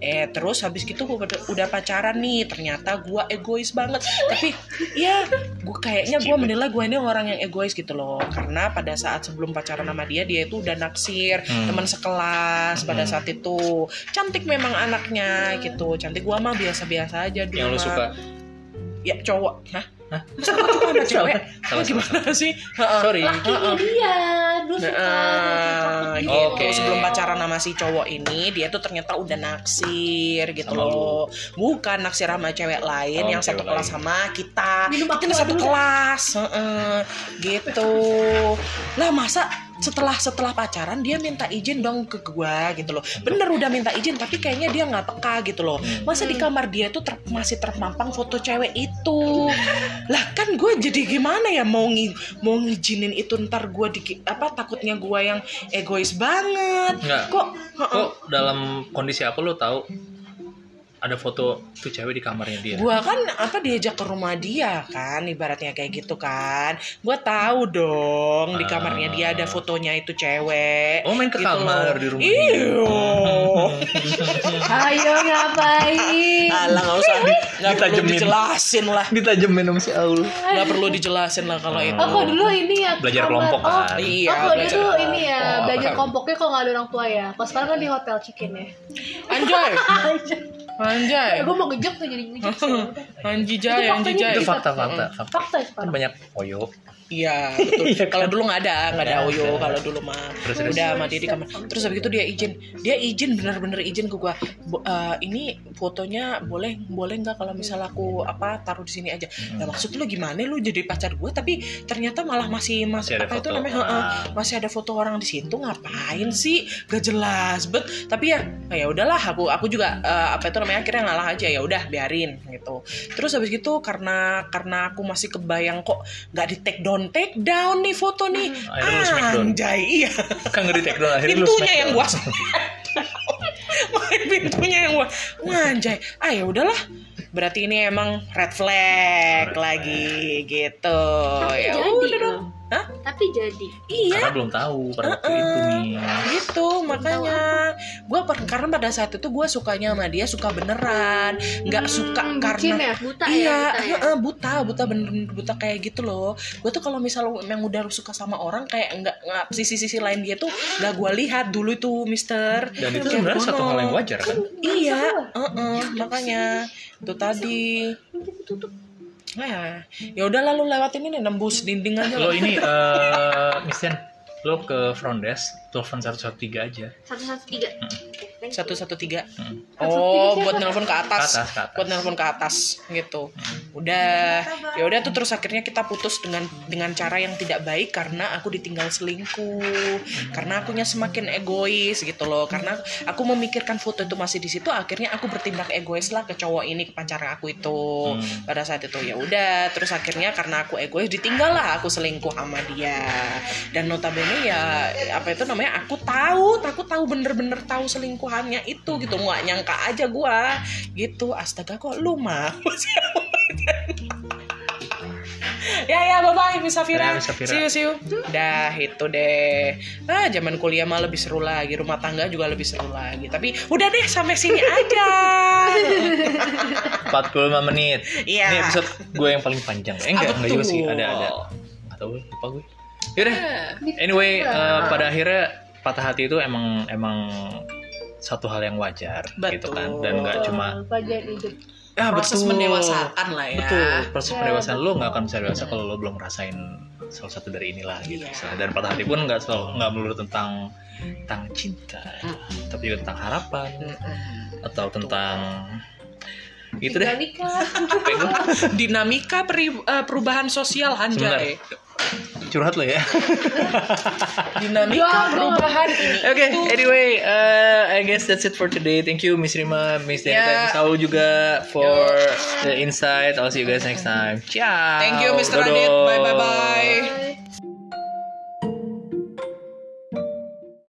B: Eh terus habis gitu gue udah pacaran nih. Ternyata gue egois banget. Tapi ya gue kayaknya gue menilai gue ini orang yang egois gitu loh karena pada saat sebelum pacaran sama dia dia itu udah naksir
A: Hmm.
B: teman sekelas pada saat itu cantik memang anaknya gitu cantik gue mah biasa-biasa aja dulu
A: yang lo
B: mah.
A: suka
B: ya cowok hah Masa gua suka sama cewek?
A: Salah,
B: Gua gimana sih?
A: sorry
C: Lakinya dia, dulu suka
B: Nah,
C: dia
B: gitu.
C: cakep
A: Oke.
C: gitu.
B: Sebelum pacaran sama si cowok ini, dia tuh ternyata udah naksir gitu
A: Sama
B: loh. Bukan naksir sama cewek lain
A: Oh,
B: yang satu
A: cewek
B: kelas
A: lain.
B: sama kita.
C: Minum
B: kita
C: aqua
B: satu
C: dulu dah.
B: kelas, heeh. gitu. Lah masa setelah setelah pacaran dia minta izin dong ke gua gitu loh. Bener udah minta izin tapi kayaknya dia nggak peka gitu loh.
A: Mm.
B: Masa
A: Hmm.
B: di kamar dia tuh ter- masih terpampang foto cewek itu. lah kan gue jadi gimana ya mau ngi- mau ngizinin itu ntar gue di apa takutnya gue yang egois banget.
A: Nggak.
B: Kok heeh.
A: kok dalam kondisi apa lo tahu ada foto tuh cewek di kamarnya dia
B: Gua kan apa diajak ke rumah dia kan ibaratnya kayak gitu kan. Gua tahu dong di kamarnya dia ada fotonya itu cewek. Gitu. Iya.
A: oh main ke kamar di rumah dia.
B: Iyo.
C: Ayo ngapain?
B: Alah nggak usah Iya. nggak perlu
A: Ditajemin.
B: dijelasin lah.
A: ditajemin sama si Aul
B: Nggak perlu dijelasin lah
A: Ah.
B: kalau itu.
C: Oh, kok dulu ini ya
A: belajar
C: kamar.
A: kelompok
C: Oh,
A: kan
B: Iya.
C: Oh, kalau
B: belajar
C: dulu
B: kelompok.
C: ini ya,
A: Oh,
C: belajar
A: paham.
C: kelompoknya kalau nggak ada orang tua ya. Kalau sekarang kan di hotel chicken ya.
B: Anjay. Anjay.
C: Eh, gue mau ngejek tuh jadi ngejek. sih.
B: Hmm.
C: Udah.
B: Anji jaya,
C: Itu
B: anji
C: faktanya
B: jaya.
A: itu
B: eh,
A: fakta-fakta fakta.
C: Fakta
A: kan
C: sekarang.
A: banyak koyok
B: Iya, betul. Kalau dulu nggak ada, nggak ada
A: Nggak
B: Oyo
A: ada.
B: kalau dulu mah.
A: kan? Iya, Terus, terus.
B: udah sama dia di kamar. Terus habis itu dia izin, dia izin benar-benar izin ke gua. "Bo- eh, ini fotonya boleh boleh nggak kalau misal aku apa taruh di sini aja. Nah, maksud lu gimana lu jadi pacar gua tapi ternyata malah
A: Masih
B: masih masih
A: ada
B: apa itu
A: foto Ah,
B: namanya?
A: orang.
B: heeh, masih ada foto orang di situ ngapain sih? Gak jelas bet. Tapi ya "Ah, ya udahlah aku aku juga eh, apa itu namanya akhirnya ngalah aja ya udah biarin gitu. Terus habis gitu karena karena aku masih kebayang kok nggak di take down take down nih foto nih.
A: Akhirnya
B: Ah,
A: lu smackdown.
B: Anjay iya ya?
A: kan nggak di take down akhirnya lu
B: pintunya
A: smackdown.
B: yang gua main pintunya yang wah, wah, anjay. Ah ya udahlah. Berarti ini emang red flag
A: Red
B: lagi gitu.
D: Tapi
B: Ya
D: jadi
B: udah
D: loh.
B: dong. Hah?
D: Tapi jadi.
B: Iya.
A: Karena belum tahu pada waktu itu nih.
B: Eh, gitu makanya gue karena pada saat itu gue sukanya sama dia suka beneran nggak suka
C: Hmm, bucin
B: karena
C: ya?
D: Buta
B: iya
D: ya. Buta ya.
B: heeh, buta buta bener buta kayak gitu loh gue tuh kalau misalnya yang udah suka sama orang kayak nggak nggak sisi-sisi lain dia tuh nggak gue lihat dulu itu Mister
A: Dan itu
B: Kayak
A: sebenarnya satu hal yang
B: Bono.
A: wajar kan?
B: iya heeh, makanya itu tadi Nah, ya udah lalu lewatin ini nembus dinding aja
A: Lo ini eh Misen, lo ke front desk telepon 113 aja.
D: Satu satu tiga.
B: satu satu tiga
A: Hmm.
B: oh
C: 113
B: buat nelpon ke
A: Ke
B: atas
A: atas, ke atas. Hmm.
B: buat nelpon ke atas gitu udah ya udah tuh terus akhirnya kita putus dengan dengan cara yang tidak baik karena aku ditinggal selingkuh karena akunya semakin egois gitu loh karena aku memikirkan foto itu masih di situ akhirnya aku bertindak egois lah ke cowok ini ke pacar aku itu
A: Hmm.
B: pada saat itu ya udah terus akhirnya karena aku egois ditinggal lah aku selingkuh sama dia dan notabene ya apa itu namanya aku tahu aku tahu bener-bener tahu selingkuhannya itu gitu nggak nyangka aja gua gitu astaga kok lu mah ya ya bye bye Miss
A: Ya,
B: Safira
A: Miss Safira.
B: see you see you dah itu deh ah zaman kuliah mah lebih seru lagi rumah tangga juga lebih seru lagi tapi udah deh sampai sini aja
A: 45 menit.
B: Iya.
A: Ini episode gue yang paling panjang. Eh, enggak,
B: Ah,
A: enggak juga
B: betul.
A: sih. Ada ada. Atau lupa gue. Yaudah.
B: Iya.
A: Anyway, eh, pada akhirnya patah hati itu emang emang satu hal yang wajar gitu
B: Betul.
A: kan dan nggak cuma
C: Bagian Oh, hidup.
A: ah,
B: proses pendewasaan lah ya
A: betul proses pendewasaan lo nggak akan bisa dewasa kalau lo belum ngerasain salah satu dari inilah gitu
B: Iya.
A: misalnya. dan patah hati pun nggak selalu nggak melulu tentang tentang cinta tapi juga tentang harapan atau tentang itu Gitu deh
C: Nikah.
A: pengen
B: dinamika peri- eh, perubahan sosial anjay
A: curhat lo ya
C: Ya,
B: dinamika perubahan ini
A: oke anyway uh, I guess that's it for today thank you Miss Rima Miss Dianita
B: Ya.
A: Miss Saul juga for the insight I'll see you guys next time ciao
B: thank you Mr. Radit
A: Dadah.
B: bye bye bye
C: Bye.